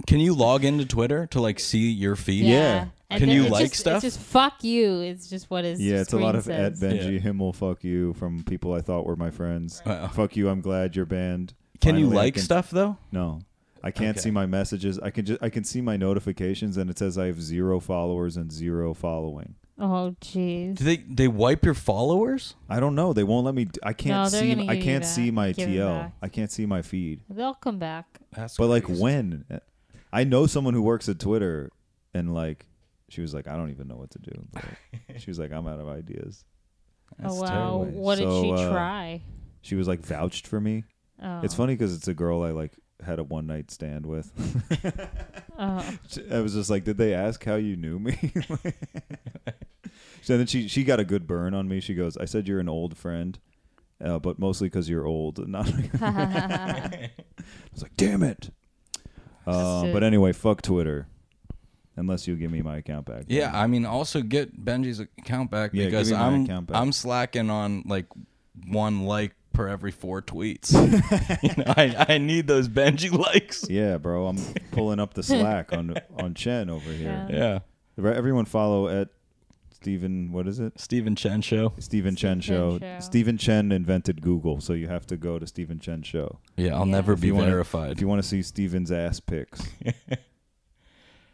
[SPEAKER 5] Can you log into Twitter to like see your feed?
[SPEAKER 3] Yeah.
[SPEAKER 4] And
[SPEAKER 5] Can
[SPEAKER 4] then
[SPEAKER 5] you
[SPEAKER 4] it's
[SPEAKER 5] like
[SPEAKER 4] just,
[SPEAKER 5] stuff?
[SPEAKER 4] It's just fuck you. It's just what his
[SPEAKER 3] Yeah, it's a
[SPEAKER 4] screen
[SPEAKER 3] lot of at
[SPEAKER 4] says.
[SPEAKER 3] Benji
[SPEAKER 5] Yeah.
[SPEAKER 3] Himmel fuck you from people I thought were my friends.
[SPEAKER 5] Wow.
[SPEAKER 3] Fuck you, I'm glad you're banned.
[SPEAKER 5] Uh, Can you
[SPEAKER 3] Finally, I
[SPEAKER 5] like
[SPEAKER 3] can-
[SPEAKER 5] stuff though?
[SPEAKER 3] No. I can't
[SPEAKER 5] Okay.
[SPEAKER 3] see my messages. I can just I can see my notifications and it says I have zero followers and zero following.
[SPEAKER 4] Oh jeez.
[SPEAKER 5] Do they they wipe your followers?
[SPEAKER 3] I don't know. They won't let me d- I can't
[SPEAKER 4] No, they're
[SPEAKER 3] see
[SPEAKER 4] gonna
[SPEAKER 3] I
[SPEAKER 4] give you
[SPEAKER 3] can't
[SPEAKER 4] back.
[SPEAKER 3] see my
[SPEAKER 4] Give it
[SPEAKER 3] TL.
[SPEAKER 4] back.
[SPEAKER 3] I can't see my feed.
[SPEAKER 4] They'll come back.
[SPEAKER 5] That's
[SPEAKER 3] But like
[SPEAKER 5] crazy.
[SPEAKER 3] when I know someone who works at Twitter and like she was like I don't even know what to do. But she was like I'm out of ideas.
[SPEAKER 5] That's
[SPEAKER 4] oh wow.
[SPEAKER 5] terrible.
[SPEAKER 4] What did she
[SPEAKER 3] So, uh,
[SPEAKER 4] try?
[SPEAKER 3] She was like vouched for me.
[SPEAKER 4] Oh.
[SPEAKER 3] It's funny cuz it's a girl I like had a one night stand with.
[SPEAKER 4] Oh.
[SPEAKER 3] I was just like, did they ask how you knew me? so then she she got a good burn on me. She goes, I said you're an old friend, uh, but mostly because you're old. and Not. I was like, damn it. Uh,
[SPEAKER 4] Just a-
[SPEAKER 3] but anyway, fuck Twitter, unless you give me my account back.
[SPEAKER 5] Yeah, I mean, also get Benji's account back
[SPEAKER 3] Yeah, give
[SPEAKER 5] because
[SPEAKER 3] me my
[SPEAKER 5] I'm
[SPEAKER 3] account back.
[SPEAKER 5] I'm slacking on like one like per every four tweets. you know, I, I need those Benji likes.
[SPEAKER 3] Yeah, bro, I'm pulling up the slack on on Chen over here.
[SPEAKER 5] Yeah,
[SPEAKER 3] Right, Everyone follow at Stephen. What is it?
[SPEAKER 5] Stephen Chen show.
[SPEAKER 3] Stephen Chen
[SPEAKER 4] Stephen Chen
[SPEAKER 3] show.
[SPEAKER 4] Show.
[SPEAKER 3] Stephen Chen invented Google, so you have to go to Stephen Chen show.
[SPEAKER 5] Yeah, I'll
[SPEAKER 4] Yeah.
[SPEAKER 5] never
[SPEAKER 4] If
[SPEAKER 5] be
[SPEAKER 3] you wanna-
[SPEAKER 5] verified.
[SPEAKER 3] If you want to see Steven's ass pics,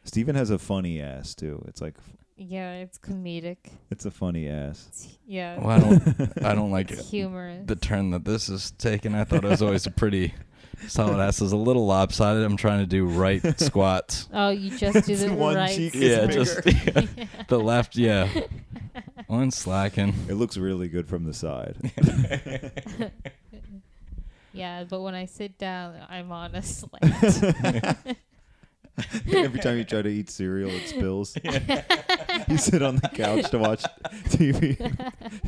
[SPEAKER 3] Steven has a funny ass too. It's like
[SPEAKER 4] Yeah, it's comedic.
[SPEAKER 3] it's a funny ass.
[SPEAKER 4] It's, yeah.
[SPEAKER 5] well, I don't I don't like
[SPEAKER 4] It's humorous.
[SPEAKER 5] the turn that this is taking. I thought it was always a pretty solid ass. Is a little lopsided. I'm trying to do right squats.
[SPEAKER 4] oh, you just do the
[SPEAKER 3] One
[SPEAKER 4] right.
[SPEAKER 3] cheek is
[SPEAKER 5] yeah,
[SPEAKER 3] bigger.
[SPEAKER 5] just the left. Yeah, one slacking.
[SPEAKER 3] It looks really good from the side.
[SPEAKER 4] Yeah, but when I sit down, I'm on a slant.
[SPEAKER 3] Every time you try to eat cereal, it spills. you sit on the couch to watch TV.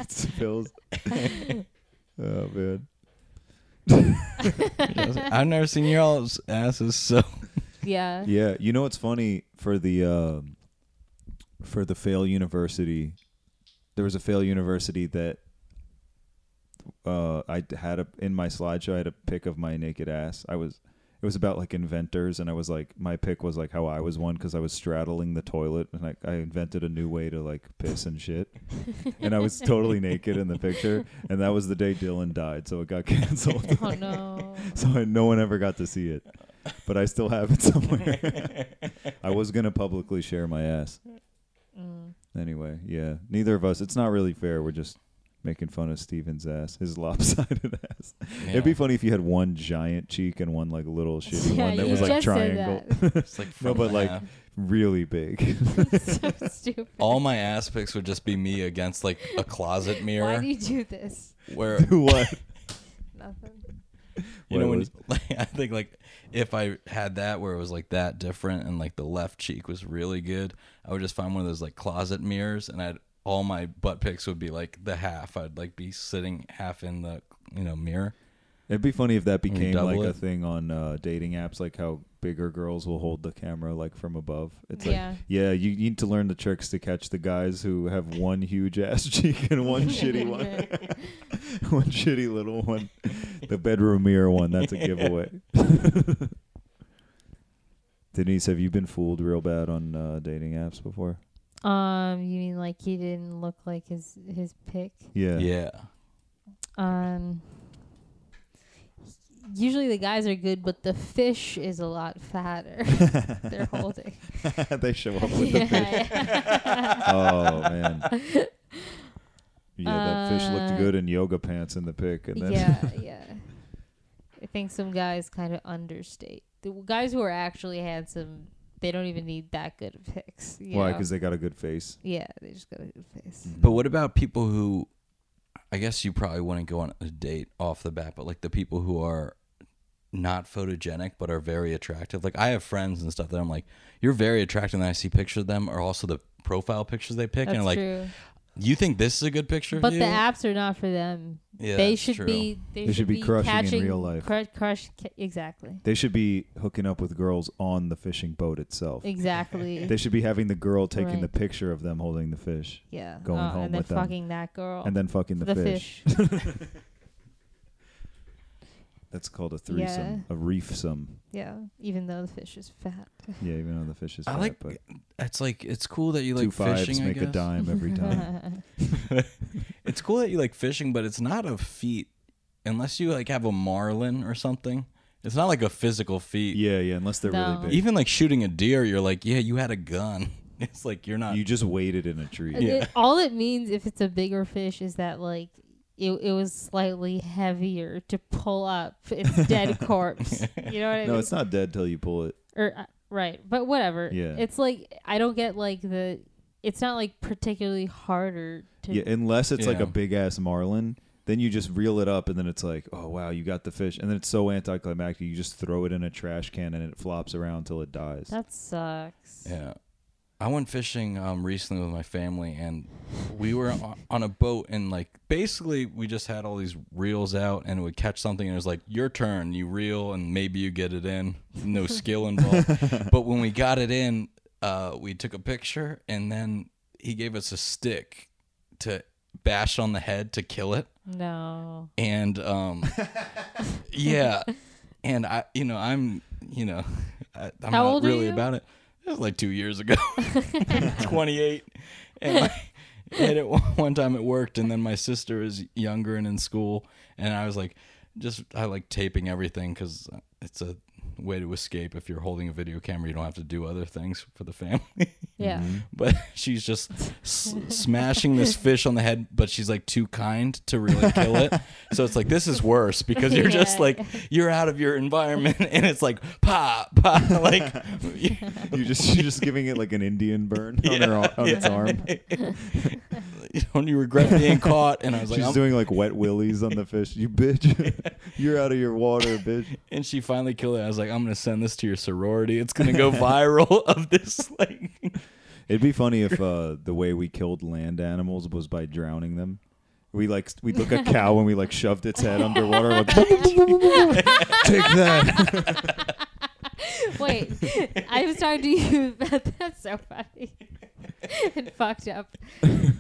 [SPEAKER 3] it spills. oh man.
[SPEAKER 5] I've never seen y'all's asses so.
[SPEAKER 4] yeah.
[SPEAKER 3] Yeah, you know what's funny for the um for the Fail University, there was a Fail University that uh, I d- had a in my slideshow. I had a pic of my naked ass. I was it was about like inventors, and I was like my pic was like how I was one because I was straddling the toilet and I, I invented a new way to like piss and shit, and I was totally naked in the picture, and that was the day Dylan died, so it got canceled.
[SPEAKER 4] Oh no.
[SPEAKER 3] so I, no one ever got to see it. But I
[SPEAKER 4] Mm.
[SPEAKER 3] still have it somewhere. I was gonna publicly share my ass. Anyway, yeah. Neither of us. It's not really fair. We're just making fun of Steven's ass, his lopsided ass.
[SPEAKER 5] Yeah.
[SPEAKER 3] It'd be funny if you had one giant cheek and one like little shitty
[SPEAKER 4] Yeah,
[SPEAKER 3] one that
[SPEAKER 4] you
[SPEAKER 3] was like
[SPEAKER 4] just said
[SPEAKER 3] triangle,
[SPEAKER 5] It's like
[SPEAKER 3] No, but,
[SPEAKER 5] my
[SPEAKER 3] like-
[SPEAKER 5] half.
[SPEAKER 3] really big.
[SPEAKER 4] so stupid.
[SPEAKER 5] all my ass pics would just be me against like a closet
[SPEAKER 4] Why
[SPEAKER 5] mirror
[SPEAKER 4] do you do this?
[SPEAKER 5] where
[SPEAKER 3] what?
[SPEAKER 4] Nothing.
[SPEAKER 5] you
[SPEAKER 3] What
[SPEAKER 5] know when
[SPEAKER 3] was-
[SPEAKER 5] you- like I think like if I had that where it was like that different and like the left cheek was really good, I would just find one of those like closet mirrors and I'd all my butt pics would be like the half. I'd like be sitting half in the you know mirror.
[SPEAKER 3] It'd be funny if that became
[SPEAKER 5] double
[SPEAKER 3] like a
[SPEAKER 5] it.
[SPEAKER 3] thing on uh, dating apps, like how bigger girls will hold the camera like from above. It's like,
[SPEAKER 4] Yeah.
[SPEAKER 3] yeah, you need to learn the tricks to catch the guys who have one huge ass cheek and one shitty one, one shitty little one. The bedroom mirror one, that's a giveaway. Denise, have you been fooled real bad on uh, dating apps before?
[SPEAKER 4] Um, you mean like he didn't look like his his pick?
[SPEAKER 3] Yeah.
[SPEAKER 5] Yeah.
[SPEAKER 4] Um, usually the guys are good, but the fish is a lot fatter. They're holding.
[SPEAKER 3] they show up with the fish.
[SPEAKER 4] Yeah.
[SPEAKER 3] Oh man. Yeah, that fish looked
[SPEAKER 4] Uh,
[SPEAKER 3] good in yoga pants in the pic, and then
[SPEAKER 4] yeah, yeah. I think some guys kind of understate the guys who are actually handsome. They don't even need that good of picks. you
[SPEAKER 3] Why?
[SPEAKER 4] know?
[SPEAKER 3] Because they Mm. got a good face.
[SPEAKER 4] yeah, they just got a good face.
[SPEAKER 5] But what about people who I guess you probably wouldn't go on a date off the bat, but like the people who are not photogenic but are very attractive. Like I have friends and stuff that I'm like, you're very attractive and I see pictures of them or also the profile pictures they pick
[SPEAKER 4] That's
[SPEAKER 5] and like
[SPEAKER 4] true.
[SPEAKER 5] You think this is a good picture
[SPEAKER 4] But
[SPEAKER 5] of you?
[SPEAKER 4] the apps are not for them.
[SPEAKER 5] Yeah,
[SPEAKER 4] they
[SPEAKER 5] that's
[SPEAKER 4] should
[SPEAKER 5] true.
[SPEAKER 4] be. They,
[SPEAKER 3] They should be crushing in
[SPEAKER 4] catching,
[SPEAKER 3] real life.
[SPEAKER 4] Crush, crush, ca- exactly,
[SPEAKER 3] They should be hooking up with girls on the fishing boat itself.
[SPEAKER 4] exactly.
[SPEAKER 3] They should be having the girl taking
[SPEAKER 4] Right.
[SPEAKER 3] the picture of them holding the fish,
[SPEAKER 4] yeah,
[SPEAKER 3] going
[SPEAKER 4] Oh,
[SPEAKER 3] home
[SPEAKER 4] and then
[SPEAKER 3] with them.
[SPEAKER 4] fucking that girl
[SPEAKER 3] and then fucking the, fish. That's called a threesome, a reefsome.
[SPEAKER 4] yeah, even though the fish is fat.
[SPEAKER 3] Yeah, even though the fish is
[SPEAKER 5] I
[SPEAKER 3] fat,
[SPEAKER 5] like
[SPEAKER 3] but
[SPEAKER 5] it's like it's cool that you
[SPEAKER 3] two
[SPEAKER 5] like
[SPEAKER 3] fives
[SPEAKER 5] fishing. I
[SPEAKER 3] make a
[SPEAKER 5] guess.
[SPEAKER 3] dime every time.
[SPEAKER 5] It's cool that you like fishing, but it's not a feat unless you like have a marlin or something. It's not like a physical feat.
[SPEAKER 3] yeah, yeah. Unless they're
[SPEAKER 4] No.
[SPEAKER 3] really big,
[SPEAKER 5] Even like shooting a deer, you're like, yeah, you had a gun. It's like you're not.
[SPEAKER 3] you just waited in a tree.
[SPEAKER 4] It- all it means if it's a bigger fish is that like it, it was slightly heavier to pull up its dead corpse. You know what I
[SPEAKER 3] No,
[SPEAKER 4] mean?
[SPEAKER 3] it's not dead till you pull it.
[SPEAKER 4] or uh, right, but whatever.
[SPEAKER 3] Yeah.
[SPEAKER 4] it's like I don't get like the. It's not like particularly harder to.
[SPEAKER 3] Yeah, unless it's like
[SPEAKER 5] Yeah.
[SPEAKER 3] a big ass marlin, then you just reel it up, and then it's like, oh wow, you got the fish, and then it's so anticlimactic, you just throw it in a trash can, and it flops around till it dies.
[SPEAKER 4] that sucks.
[SPEAKER 5] Yeah. I went fishing um, recently with my family, and we were on, on a boat, and like basically we just had all these reels out, and we'd catch something, and it was like your turn, you reel, and maybe you get it in. No skill involved. but when we got it in, uh, we took a picture, and then he gave us a stick to bash on the head to kill it
[SPEAKER 4] No.
[SPEAKER 5] and um yeah and i you know i'm you know I, i'm
[SPEAKER 4] How
[SPEAKER 5] not
[SPEAKER 4] old are
[SPEAKER 5] really
[SPEAKER 4] you?
[SPEAKER 5] about it it was like two years ago 28 and like, and it one time it worked and then my sister is younger and in school and i was like just i like taping everything because it's a way to escape if you're holding a video camera you don't have to do other things for the family
[SPEAKER 3] Mm-hmm.
[SPEAKER 4] Yeah.
[SPEAKER 5] but she's just s- smashing this fish on the head but she's like too kind to really kill it so it's like this is worse because you're just
[SPEAKER 4] Yeah.
[SPEAKER 5] like you're out of your environment and it's like pa pa like
[SPEAKER 3] you just you're just giving it like an Indian burn on her ar- on its arm.
[SPEAKER 5] don't you regret being caught and i was like
[SPEAKER 3] She's
[SPEAKER 5] I'm-
[SPEAKER 3] doing like wet willies on the fish. You bitch, you're out of your water, bitch.
[SPEAKER 5] and she finally killed it i was like i'm gonna send this to your sorority it's gonna go viral of this like
[SPEAKER 3] It'd be funny if uh, the way we killed land animals was by drowning them. We like we would look a cow and we like shoved its head underwater. Like, Take that.
[SPEAKER 4] Wait, I was talking to you about that's so funny and fucked up.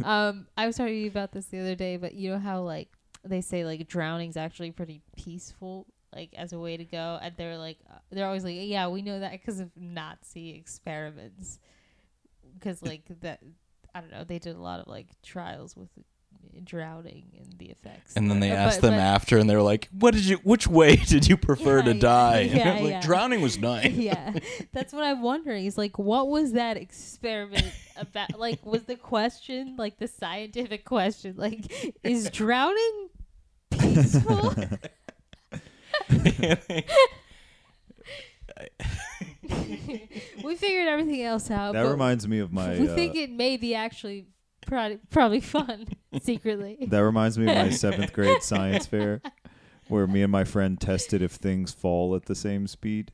[SPEAKER 4] Um, I was talking to you about this the other day, but you know how like they say like drowning's actually pretty peaceful, like as a way to go, and they're like uh, they're always like, yeah, we know that because of Nazi experiments, because like that I don't know they did a lot of like trials with drowning in the effects.
[SPEAKER 5] And then they
[SPEAKER 4] Uh,
[SPEAKER 5] asked
[SPEAKER 4] but-
[SPEAKER 5] them
[SPEAKER 4] but-
[SPEAKER 5] after, and they were like, "What did you? Which way did you prefer
[SPEAKER 4] Yeah,
[SPEAKER 5] to
[SPEAKER 4] yeah,
[SPEAKER 5] die?" And
[SPEAKER 4] yeah,
[SPEAKER 5] I'm like,
[SPEAKER 4] yeah.
[SPEAKER 5] Drowning was nice.
[SPEAKER 4] yeah that's what i'm wondering is like what was that experiment about like was the question like the scientific question like is drowning peaceful we figured everything else out
[SPEAKER 3] That
[SPEAKER 4] but
[SPEAKER 3] reminds me of my.
[SPEAKER 4] we
[SPEAKER 3] uh,
[SPEAKER 4] think it may be actually pro- probably fun secretly
[SPEAKER 3] That reminds me of my seventh grade science fair, where me and my friend tested if things fall at the same speed.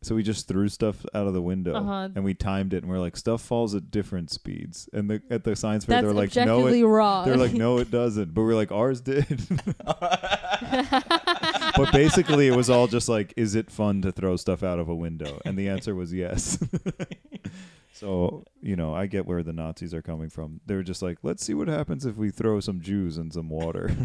[SPEAKER 3] So we just threw stuff out of the window
[SPEAKER 4] Uh-huh.
[SPEAKER 3] and we timed it, and we're like, stuff falls at different speeds. And the, at the science fair,
[SPEAKER 4] that's
[SPEAKER 3] they're like, no,
[SPEAKER 4] objectively
[SPEAKER 3] it,
[SPEAKER 4] wrong
[SPEAKER 3] they're like, no, it doesn't. But we're like, ours did. but basically, it was all just like, is it fun to throw stuff out of a window? And the answer was yes. so, you know, I get where the Nazis are coming from. They were just like, let's see what happens if we throw some Jews in some water.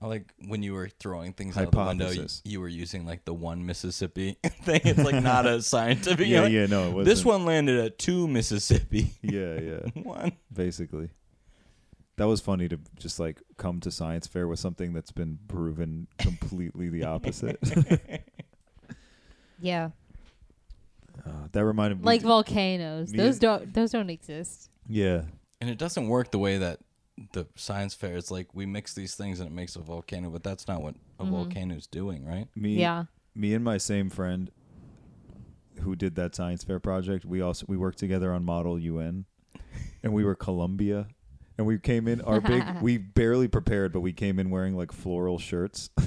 [SPEAKER 5] I like when you were throwing things out the window, you,
[SPEAKER 3] Hypothesis.
[SPEAKER 5] you were using like the one Mississippi thing. It's like not a scientific.
[SPEAKER 3] yeah,
[SPEAKER 5] you're like,
[SPEAKER 3] yeah, no, it was
[SPEAKER 5] This one landed at two Mississippi.
[SPEAKER 3] Yeah, yeah,
[SPEAKER 5] one.
[SPEAKER 3] basically. That was funny to just like come to science fair with something that's been proven completely the opposite.
[SPEAKER 4] yeah
[SPEAKER 3] Uh, that reminded me,
[SPEAKER 4] like volcanoes
[SPEAKER 3] me
[SPEAKER 4] those
[SPEAKER 3] and-
[SPEAKER 4] don't those don't exist
[SPEAKER 3] yeah,
[SPEAKER 5] And it doesn't work the way that the science fair is like we mix these things and it makes a volcano, but that's not what a volcano's doing, right?
[SPEAKER 3] me,
[SPEAKER 4] yeah
[SPEAKER 3] me and my same friend who did that science fair project we also we worked together on model un and we were columbia and we came in our big we barely prepared but we came in wearing like floral shirts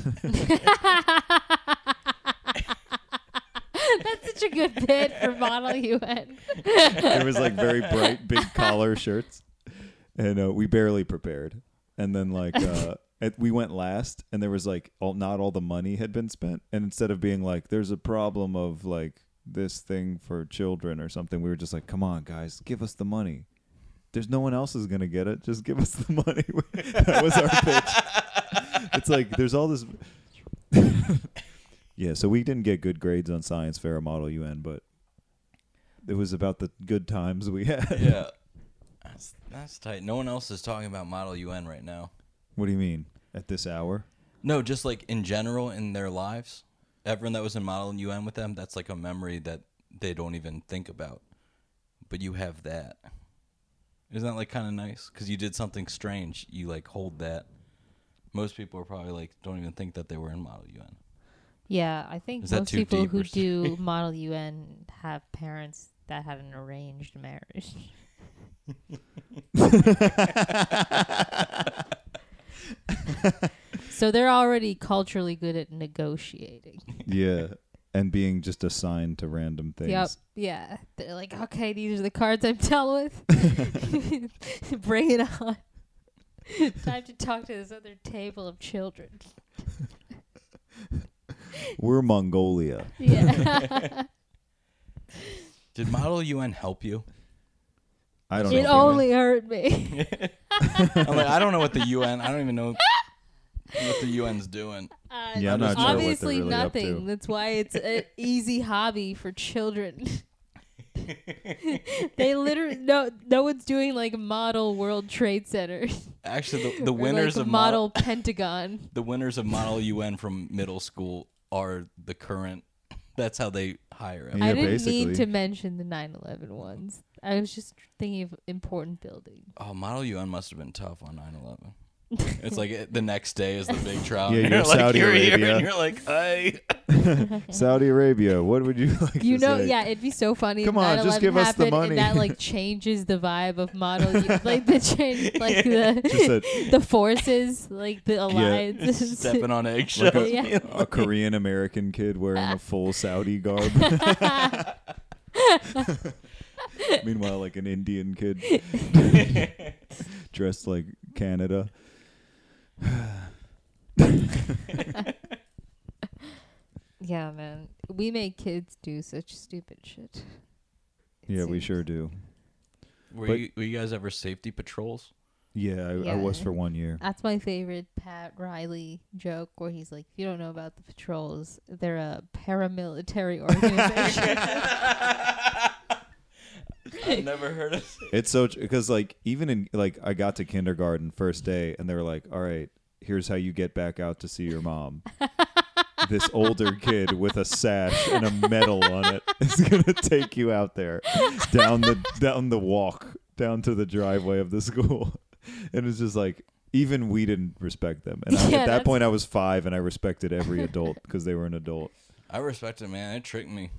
[SPEAKER 4] that's such a good bid for model un
[SPEAKER 3] it was like very bright big collar shirts and uh, we barely prepared and then like uh it, we went last and there was like all not all the money had been spent and instead of being like there's a problem of like this thing for children or something we were just like come on guys give us the money there's no one else is gonna get it just give us the money that was our pitch it's like there's all this yeah so we didn't get good grades on science fair or model un but it was about the good times we had
[SPEAKER 5] Yeah. That's, that's tight. No one else is talking about Model UN right now.
[SPEAKER 3] What do you mean? At this hour?
[SPEAKER 5] No, just like in general in their lives. Everyone that was in Model UN with them, that's like a memory that they don't even think about. But you have that. Isn't that like kind of nice? Because you did something strange. You like hold that. Most people are probably like, don't even think that they were in Model UN.
[SPEAKER 4] Yeah, I think
[SPEAKER 5] Is that
[SPEAKER 4] most
[SPEAKER 5] too
[SPEAKER 4] people
[SPEAKER 5] deep
[SPEAKER 4] who
[SPEAKER 5] or-
[SPEAKER 4] do Model UN have parents that had an arranged marriage. so they're already culturally good at negotiating.
[SPEAKER 3] Yeah. And being just assigned to random things.
[SPEAKER 4] Yep. Yeah. They're like, okay, these are the cards I'm dealt with. Bring it on. Time to talk to this other table of children.
[SPEAKER 3] We're Mongolia.
[SPEAKER 4] Yeah.
[SPEAKER 5] Did Model UN help you?
[SPEAKER 3] I don't
[SPEAKER 4] it
[SPEAKER 3] know.
[SPEAKER 4] only hurt me.
[SPEAKER 5] I'm like, I don't know what the UN. I don't even know what the UN's doing.
[SPEAKER 4] Uh,
[SPEAKER 3] Yeah, I'm not sure what they're
[SPEAKER 4] obviously
[SPEAKER 3] really up
[SPEAKER 4] nothing.
[SPEAKER 3] to.
[SPEAKER 4] That's why it's an easy hobby for children. they literally no no one's doing like model World Trade Center.
[SPEAKER 5] Actually, the, the
[SPEAKER 4] or,
[SPEAKER 5] winners
[SPEAKER 4] like,
[SPEAKER 5] of
[SPEAKER 4] model
[SPEAKER 5] model
[SPEAKER 4] Pentagon.
[SPEAKER 5] the winners of Model UN from middle school are the current. That's how they hire them.
[SPEAKER 3] Yeah,
[SPEAKER 4] I didn't mean
[SPEAKER 3] basically.
[SPEAKER 4] to mention the 9/11 ones. I was just thinking of important buildings.
[SPEAKER 5] Oh, Model UN must have been tough on 9/11. It's like it- the next day is the big trial.
[SPEAKER 3] Yeah,
[SPEAKER 5] and
[SPEAKER 3] you're
[SPEAKER 5] like,
[SPEAKER 3] Saudi
[SPEAKER 5] you're here,
[SPEAKER 3] Arabia.
[SPEAKER 5] and you're like, I.
[SPEAKER 3] Saudi Arabia. What would you like
[SPEAKER 4] You
[SPEAKER 3] to
[SPEAKER 4] know,
[SPEAKER 3] say?
[SPEAKER 4] yeah, it'd be so funny. if
[SPEAKER 3] Come on, just
[SPEAKER 4] 9/11
[SPEAKER 3] give us the
[SPEAKER 4] happened
[SPEAKER 3] money.
[SPEAKER 4] And that like changes the vibe of model, U- like the change, like the
[SPEAKER 3] Just a,
[SPEAKER 4] the forces, like the alliance.
[SPEAKER 5] Stepping on eggshells.
[SPEAKER 3] like a,
[SPEAKER 4] Yeah.
[SPEAKER 3] a Korean American kid wearing a full Saudi garb. Meanwhile, like an Indian kid dressed like Canada.
[SPEAKER 4] Yeah, man. We make kids do such stupid shit. It
[SPEAKER 3] Yeah, we
[SPEAKER 4] seems.
[SPEAKER 3] sure do.
[SPEAKER 5] Were,
[SPEAKER 3] But-
[SPEAKER 5] you, were you guys ever safety patrols?
[SPEAKER 3] Yeah, I, I
[SPEAKER 4] Yeah.
[SPEAKER 3] was for one year.
[SPEAKER 4] That's my favorite Pat Riley joke where he's like, if you don't know about the patrols, they're a paramilitary organization.
[SPEAKER 5] I've never heard of
[SPEAKER 3] It's so because like even in like I got to kindergarten first day and they were like, "All right, here's how you get back out to see your mom." this older kid with a sash and a medal on it is gonna take you out there down the down the walk down to the driveway of the school, and it's just like even we didn't respect them. And I,
[SPEAKER 4] Yeah,
[SPEAKER 3] at
[SPEAKER 4] that's-
[SPEAKER 3] that point, I was five and I respected every adult because they were an adult.
[SPEAKER 5] I respect it, man. It tricked me.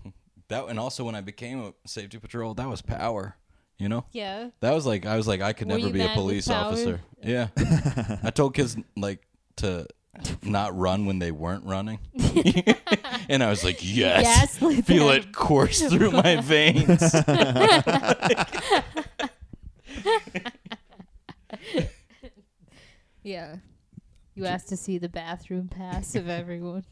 [SPEAKER 5] That and also when I became a safety patrol, that was power. You know,
[SPEAKER 4] Yeah.
[SPEAKER 5] that was like I was like I could
[SPEAKER 4] Were
[SPEAKER 5] never
[SPEAKER 4] you
[SPEAKER 5] be a
[SPEAKER 4] mad with
[SPEAKER 5] police
[SPEAKER 4] power?
[SPEAKER 5] officer. Yeah, I told kids like to not run when they weren't running, and I was like, yes,
[SPEAKER 4] Yes, let
[SPEAKER 5] feel
[SPEAKER 4] them-
[SPEAKER 5] it course through my veins.
[SPEAKER 4] Yeah. You asked to see the bathroom pass of everyone.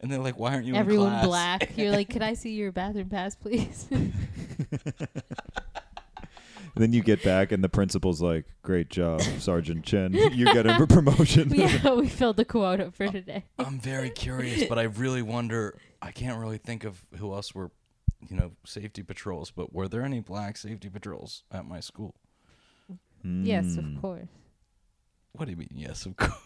[SPEAKER 5] and they're like, why aren't you in
[SPEAKER 4] everyone
[SPEAKER 5] class?
[SPEAKER 4] black. You're like, could I see your bathroom pass, please?
[SPEAKER 3] And then you get back and the principal's like, "Great job, Sergeant Chen. You get a promotion."
[SPEAKER 4] yeah, we filled the quota
[SPEAKER 3] Oh.
[SPEAKER 4] for today.
[SPEAKER 5] I'm very curious, but I really wonder. I can't really think of who else were, you know, safety patrols. But were there any black safety patrols at my school?
[SPEAKER 4] Yes,
[SPEAKER 3] Mm.
[SPEAKER 4] of course.
[SPEAKER 5] What do you mean? Yes, of course.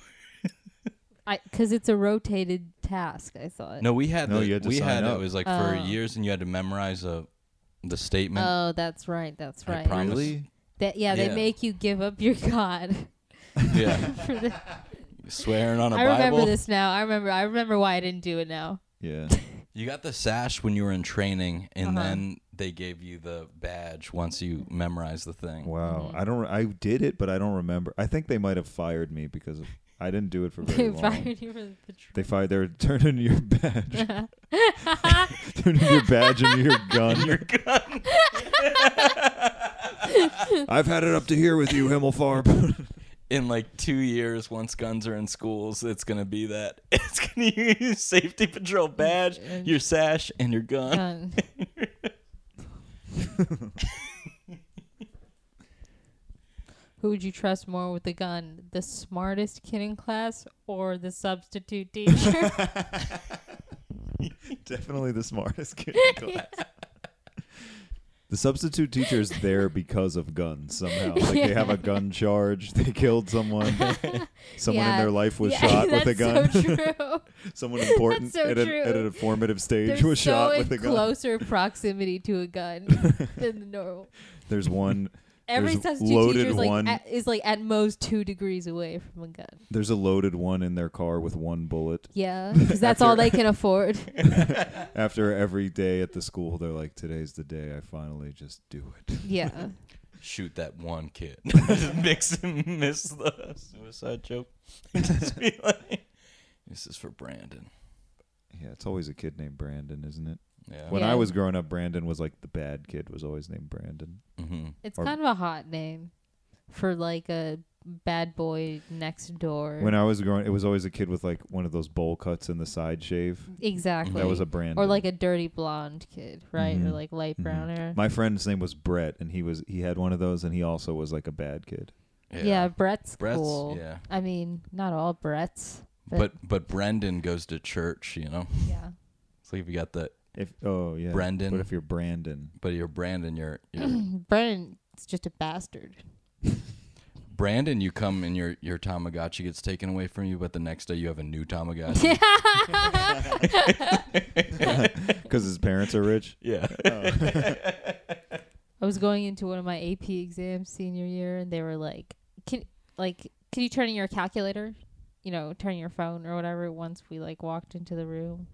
[SPEAKER 4] I because it's a rotated task. I thought.
[SPEAKER 5] No, we had.
[SPEAKER 3] No,
[SPEAKER 5] the,
[SPEAKER 3] you had to
[SPEAKER 5] we
[SPEAKER 3] sign
[SPEAKER 5] had
[SPEAKER 3] up.
[SPEAKER 5] it was like for
[SPEAKER 4] Oh.
[SPEAKER 5] years, and you had to memorize a the statement.
[SPEAKER 4] Oh, that's right. That's
[SPEAKER 5] I
[SPEAKER 4] right.
[SPEAKER 5] promise.
[SPEAKER 3] Really?
[SPEAKER 4] That yeah,
[SPEAKER 5] Yeah.
[SPEAKER 4] they make you give up your god.
[SPEAKER 5] Yeah,
[SPEAKER 4] For the,
[SPEAKER 5] swearing on a
[SPEAKER 4] I
[SPEAKER 5] Bible.
[SPEAKER 4] remember this now. I remember. I remember why I didn't do it now.
[SPEAKER 3] Yeah.
[SPEAKER 5] You got the sash when you were in training, and
[SPEAKER 4] Uh-huh.
[SPEAKER 5] then they gave you the badge once you memorized the thing.
[SPEAKER 3] Wow.
[SPEAKER 4] Mm-hmm.
[SPEAKER 3] I don't. re- I did it, but I don't remember. I think they might have fired me because of, I didn't do it for very
[SPEAKER 4] They
[SPEAKER 3] long.
[SPEAKER 4] fired you for the patrol.
[SPEAKER 3] They fired. They were turning your badge, turning your badge into your gun. your gun. I've had it up to here with you, Himmelfarb.
[SPEAKER 5] in like two years, once guns are in schools, it's gonna be that. It's gonna use safety patrol badge, your sash, and your gun.
[SPEAKER 4] Um, Who would you trust more with the gun? The smartest kid in class or the substitute teacher?
[SPEAKER 3] Definitely the smartest kid in class. The substitute teacher is there because of guns somehow. Like they have a gun charge, they killed someone, someone
[SPEAKER 4] Yeah.
[SPEAKER 3] in their life was
[SPEAKER 4] Yeah,
[SPEAKER 3] shot with a
[SPEAKER 4] that's
[SPEAKER 3] gun,
[SPEAKER 4] So true.
[SPEAKER 3] someone important
[SPEAKER 4] so
[SPEAKER 3] at, a,
[SPEAKER 4] true.
[SPEAKER 3] at an informative
[SPEAKER 4] They're
[SPEAKER 3] stage
[SPEAKER 4] so
[SPEAKER 3] was shot
[SPEAKER 4] in
[SPEAKER 3] with a gun.
[SPEAKER 4] closer proximity to a gun than the normal.
[SPEAKER 3] There's one.
[SPEAKER 4] Every
[SPEAKER 3] There's
[SPEAKER 4] substitute
[SPEAKER 3] loaded
[SPEAKER 4] teacher is like,
[SPEAKER 3] one-
[SPEAKER 4] at, is like at most two degrees away from a gun.
[SPEAKER 3] There's a loaded one in their car with one bullet.
[SPEAKER 4] Yeah, because that's all they can afford.
[SPEAKER 3] After every day at the school, they're like, "Today's the day I finally just do it."
[SPEAKER 4] Yeah.
[SPEAKER 5] Shoot that one kid. Just mix and miss the suicide joke. Just be like, this is for Brandon.
[SPEAKER 3] Yeah, it's always a kid named Brandon, isn't it?
[SPEAKER 5] Yeah.
[SPEAKER 3] When
[SPEAKER 4] Yeah.
[SPEAKER 3] I was growing up, Brandon was like the bad kid. Was always named Brandon.
[SPEAKER 5] Mm-hmm.
[SPEAKER 4] It's
[SPEAKER 3] Or-
[SPEAKER 4] kind of a hot name for like a bad boy next door.
[SPEAKER 3] When I was growing, it was always a kid with like one of those bowl cuts and the side shave.
[SPEAKER 4] exactly.
[SPEAKER 3] That was a brand.
[SPEAKER 4] or like a dirty blonde kid, right? Or like light brown hair.
[SPEAKER 3] Mm-hmm. my friend's name was Brett, and he was he had one of those, and he also was like a bad kid.
[SPEAKER 4] Yeah, Brett's,
[SPEAKER 5] Brett's-
[SPEAKER 4] cool.
[SPEAKER 5] yeah.
[SPEAKER 4] I mean, not all Brett's. But,
[SPEAKER 5] But but Brendan goes to church, you know.
[SPEAKER 4] yeah.
[SPEAKER 5] It's like if you got the
[SPEAKER 3] If oh yeah,
[SPEAKER 5] Brendan.
[SPEAKER 3] But if you're Brandon,
[SPEAKER 5] but you're Brandon, you're, you're
[SPEAKER 4] Brennan's just a bastard.
[SPEAKER 5] Brandon, you come and your your Tamagotchi gets taken away from you, but the next day you have a new Tamagotchi.
[SPEAKER 3] because his parents are rich.
[SPEAKER 5] yeah.
[SPEAKER 4] I was going into one of my AP exams senior year, and they were like, "Can like can you turn in your calculator? You know, turn your phone or whatever." Once we like walked into the room,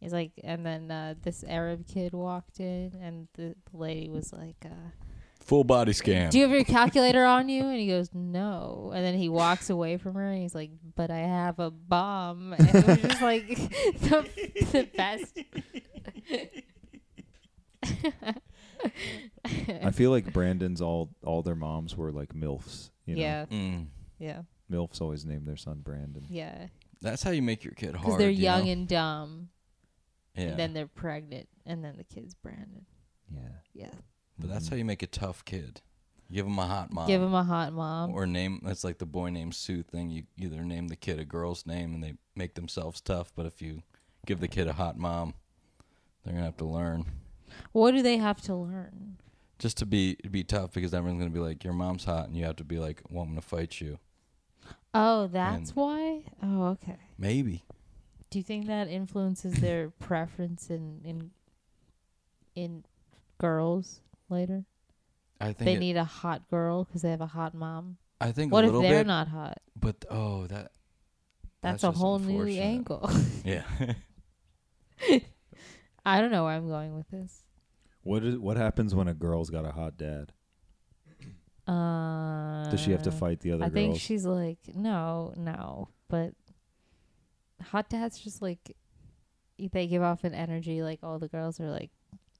[SPEAKER 4] he's like, and then uh, this Arab kid walked in, and the, the lady was like, uh,
[SPEAKER 5] Full body scan.
[SPEAKER 4] "Do you have your calculator on you?" And he goes, "No." And then he walks away from her, and he's like, "But I have a bomb." And it was just like the, the best.
[SPEAKER 3] I feel like Brandon's all all their moms were like milfs. You know?
[SPEAKER 4] Yeah,
[SPEAKER 5] Mm.
[SPEAKER 4] yeah,
[SPEAKER 3] milfs always named their son Brandon.
[SPEAKER 4] yeah.
[SPEAKER 5] That's how you make your kid hard.
[SPEAKER 4] Because they're
[SPEAKER 5] you
[SPEAKER 4] young
[SPEAKER 5] know?
[SPEAKER 4] and dumb.
[SPEAKER 5] yeah.
[SPEAKER 4] And then they're pregnant. And then the kid's Brandon.
[SPEAKER 3] Yeah,
[SPEAKER 4] Yeah.
[SPEAKER 5] But that's how you make a tough kid. Give him a hot mom.
[SPEAKER 4] Give him a hot mom.
[SPEAKER 5] or name that's like the boy named Sue thing. You either name the kid a girl's name and they make themselves tough, but if you give the kid a hot mom, they're gonna have to learn.
[SPEAKER 4] what do they have to learn?
[SPEAKER 5] just to be be tough because everyone's gonna be like, your mom's hot, and you have to be like, well, I'm gonna fight you.
[SPEAKER 4] Oh, that's
[SPEAKER 5] And-
[SPEAKER 4] why. Oh, okay.
[SPEAKER 5] Maybe.
[SPEAKER 4] Do you think that influences their preference in in in girls later?
[SPEAKER 5] I think.
[SPEAKER 4] They
[SPEAKER 5] it-
[SPEAKER 4] need a hot girl because they have a hot mom.
[SPEAKER 5] I think
[SPEAKER 4] What
[SPEAKER 5] a
[SPEAKER 4] if
[SPEAKER 5] little
[SPEAKER 4] they're
[SPEAKER 5] bit.
[SPEAKER 4] not hot?
[SPEAKER 5] but oh, that.
[SPEAKER 4] That's,
[SPEAKER 5] That's
[SPEAKER 4] a
[SPEAKER 5] just
[SPEAKER 4] whole new
[SPEAKER 5] unfortunate.
[SPEAKER 4] angle.
[SPEAKER 5] Yeah.
[SPEAKER 4] I don't know where I'm going with this.
[SPEAKER 3] What is what happens when a girl's got a hot dad?
[SPEAKER 4] Uh,
[SPEAKER 3] Does she have to fight the other
[SPEAKER 4] I think
[SPEAKER 3] girls?
[SPEAKER 4] she's like, no, no, but hot dads just like they give off an energy like all the girls are like,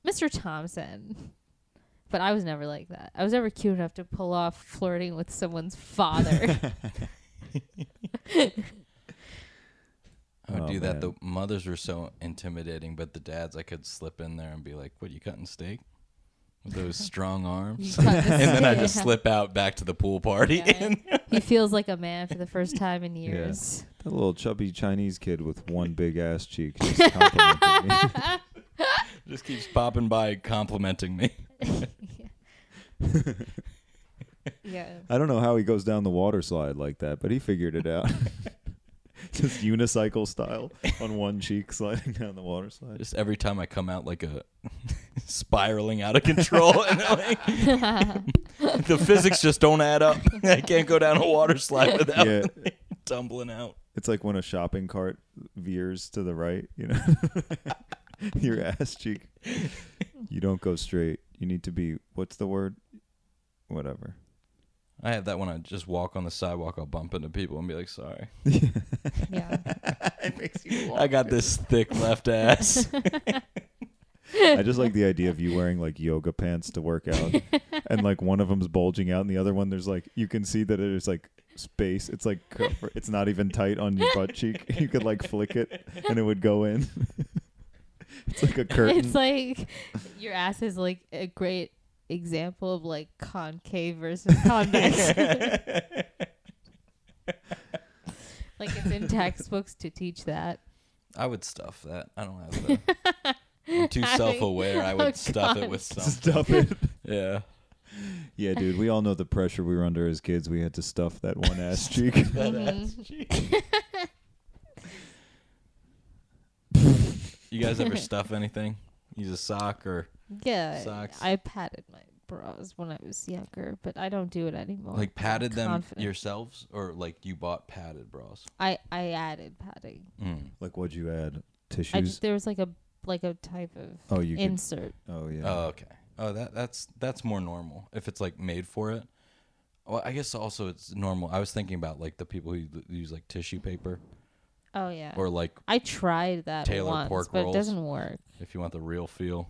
[SPEAKER 4] Mr. Thompson. But I was never like that. I was never cute enough to pull off flirting with someone's father.
[SPEAKER 5] I would
[SPEAKER 3] Oh,
[SPEAKER 5] do that.
[SPEAKER 3] man.
[SPEAKER 5] The mothers were so intimidating, but the dads, I could slip in there and be like, "What you cutting steak?" With those strong
[SPEAKER 4] You
[SPEAKER 5] arms,
[SPEAKER 4] cut the
[SPEAKER 5] and then I just
[SPEAKER 4] steak.
[SPEAKER 5] slip out back to the pool party.
[SPEAKER 4] Yeah.
[SPEAKER 5] and-
[SPEAKER 4] he feels like a man for the first time in years.
[SPEAKER 3] that little chubby Chinese kid with one big ass cheek just complimented me.
[SPEAKER 5] just keeps popping by, complimenting me.
[SPEAKER 4] Yeah.
[SPEAKER 3] I don't know how he goes down the water slide like that, but he figured it out. Just unicycle style on one cheek sliding down the water slide.
[SPEAKER 5] Just every time I come out like a spiraling out of control, and like, the physics just don't add up. I can't go down a water slide without
[SPEAKER 3] Yeah,
[SPEAKER 5] tumbling out.
[SPEAKER 3] it's like when a shopping cart veers to the right, you know. Your ass cheek. You don't go straight. You need to be what's the word? Whatever.
[SPEAKER 5] I have that when I just walk on the sidewalk, I'll bump into people and be like, "Sorry."
[SPEAKER 4] Yeah.
[SPEAKER 5] I got this thick left ass.
[SPEAKER 3] I just like the idea of you wearing like yoga pants to work out, and like one of them's bulging out, and the other one there's like you can see that there's like space. It's like cover- it's not even tight on your butt cheek. You could like flick it, and it would go in. it's like a curtain.
[SPEAKER 4] It's like your ass is like a great example of like concave versus convex. like it's in textbooks to teach that.
[SPEAKER 5] I would stuff that. I don't have the. I'm too
[SPEAKER 4] I-
[SPEAKER 5] self aware. I would
[SPEAKER 4] oh,
[SPEAKER 5] stuff it
[SPEAKER 4] God.
[SPEAKER 5] with something.
[SPEAKER 3] Stuff it.
[SPEAKER 5] Yeah.
[SPEAKER 3] Yeah, dude. We all know the pressure we were under as kids. We had to stuff that one ass cheek.
[SPEAKER 4] Mm-hmm.
[SPEAKER 5] You guys ever stuff anything? Use a sock or
[SPEAKER 4] Yeah,
[SPEAKER 5] Socks.
[SPEAKER 4] I padded my bras when I was younger, but I don't do it anymore.
[SPEAKER 5] like padded them
[SPEAKER 4] Confident.
[SPEAKER 5] yourselves or like you bought padded bras?
[SPEAKER 4] I I added padding.
[SPEAKER 5] Mm.
[SPEAKER 3] like what'd you add?
[SPEAKER 4] I
[SPEAKER 3] Tissues.
[SPEAKER 4] just, there was like a like a type of
[SPEAKER 3] oh, you. Could,
[SPEAKER 4] insert.
[SPEAKER 3] oh yeah.
[SPEAKER 5] Oh, okay. Oh, that that's that's more normal if it's like made for it. Well, I guess also it's normal. I was thinking about like the people who use like tissue paper
[SPEAKER 4] Oh yeah.
[SPEAKER 5] or like
[SPEAKER 4] I tried that
[SPEAKER 5] Taylor
[SPEAKER 4] once,
[SPEAKER 5] pork
[SPEAKER 4] but
[SPEAKER 5] rolls.
[SPEAKER 4] it doesn't work.
[SPEAKER 5] if you want the real feel.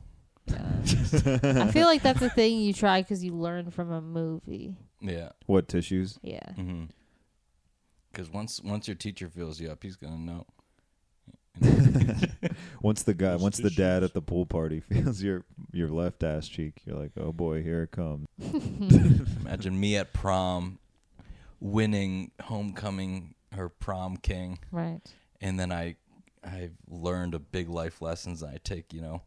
[SPEAKER 4] I feel like that's a thing you try because you learn from a movie.
[SPEAKER 5] Yeah. Mm-hmm.
[SPEAKER 3] What tissues?
[SPEAKER 4] Yeah.
[SPEAKER 5] Because once once your teacher fills you up, he's gonna know.
[SPEAKER 3] Once the guy,
[SPEAKER 5] Those
[SPEAKER 3] once the
[SPEAKER 5] tissues.
[SPEAKER 3] dad at the pool party feels your your left ass cheek, you're like, oh boy, here it comes.
[SPEAKER 5] Imagine me at prom, winning homecoming or prom king,
[SPEAKER 4] Right.
[SPEAKER 5] and then I I've learned a big life lessons. I take you know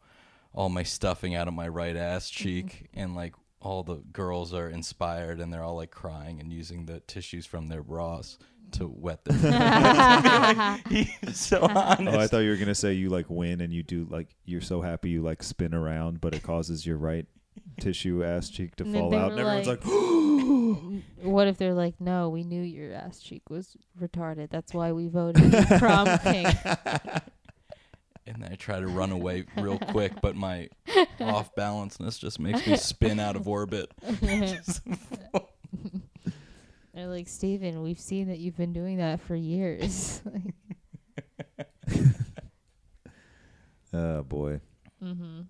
[SPEAKER 5] all my stuffing out of my right ass cheek, and like all the girls are inspired, and they're all like crying and using the tissues from their bras to wet their. He's so honest.
[SPEAKER 3] Oh, I thought you were gonna say you like win and you do like you're so happy you like spin around, but it causes your right tissue ass cheek to
[SPEAKER 4] And then
[SPEAKER 3] fall
[SPEAKER 4] they
[SPEAKER 3] out, and
[SPEAKER 4] were
[SPEAKER 3] everyone's like,
[SPEAKER 4] like- What if they're like, no, we knew your ass cheek was retarded. That's why we voted you prom king.
[SPEAKER 5] and I try to run away real quick, but my off balanceness just makes me spin out of orbit.
[SPEAKER 4] They're like, Steven, we've seen that you've been doing that for years. Like,
[SPEAKER 3] oh boy. Mm-hmm.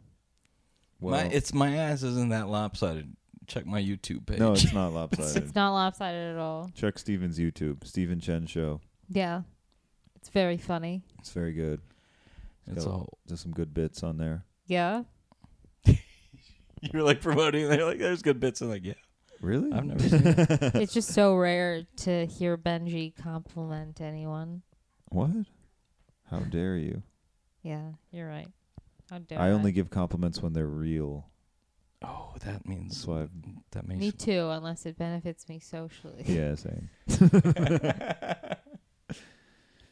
[SPEAKER 3] Well,
[SPEAKER 5] my, it's my ass isn't that lopsided. Check my YouTube page.
[SPEAKER 3] no, it's not lopsided.
[SPEAKER 4] it's not lopsided at all.
[SPEAKER 3] Check Steven's YouTube, Steven Chen Show.
[SPEAKER 4] Yeah. It's very funny.
[SPEAKER 3] It's very good.
[SPEAKER 5] It's
[SPEAKER 3] got-
[SPEAKER 5] all.
[SPEAKER 3] There's some good bits on there.
[SPEAKER 4] Yeah.
[SPEAKER 5] You're like promoting. They're like, there's good bits. I'm like, yeah,
[SPEAKER 3] Really?
[SPEAKER 5] I've never seen it.
[SPEAKER 4] it's just so rare to hear Benji compliment anyone.
[SPEAKER 3] what? How dare you?
[SPEAKER 4] Yeah, you're right. How dare
[SPEAKER 3] I only give compliments when they're real.
[SPEAKER 5] oh, that means
[SPEAKER 3] That's why. I've,
[SPEAKER 5] that makes
[SPEAKER 4] Mm. Me too, unless it benefits me socially.
[SPEAKER 3] yeah, same.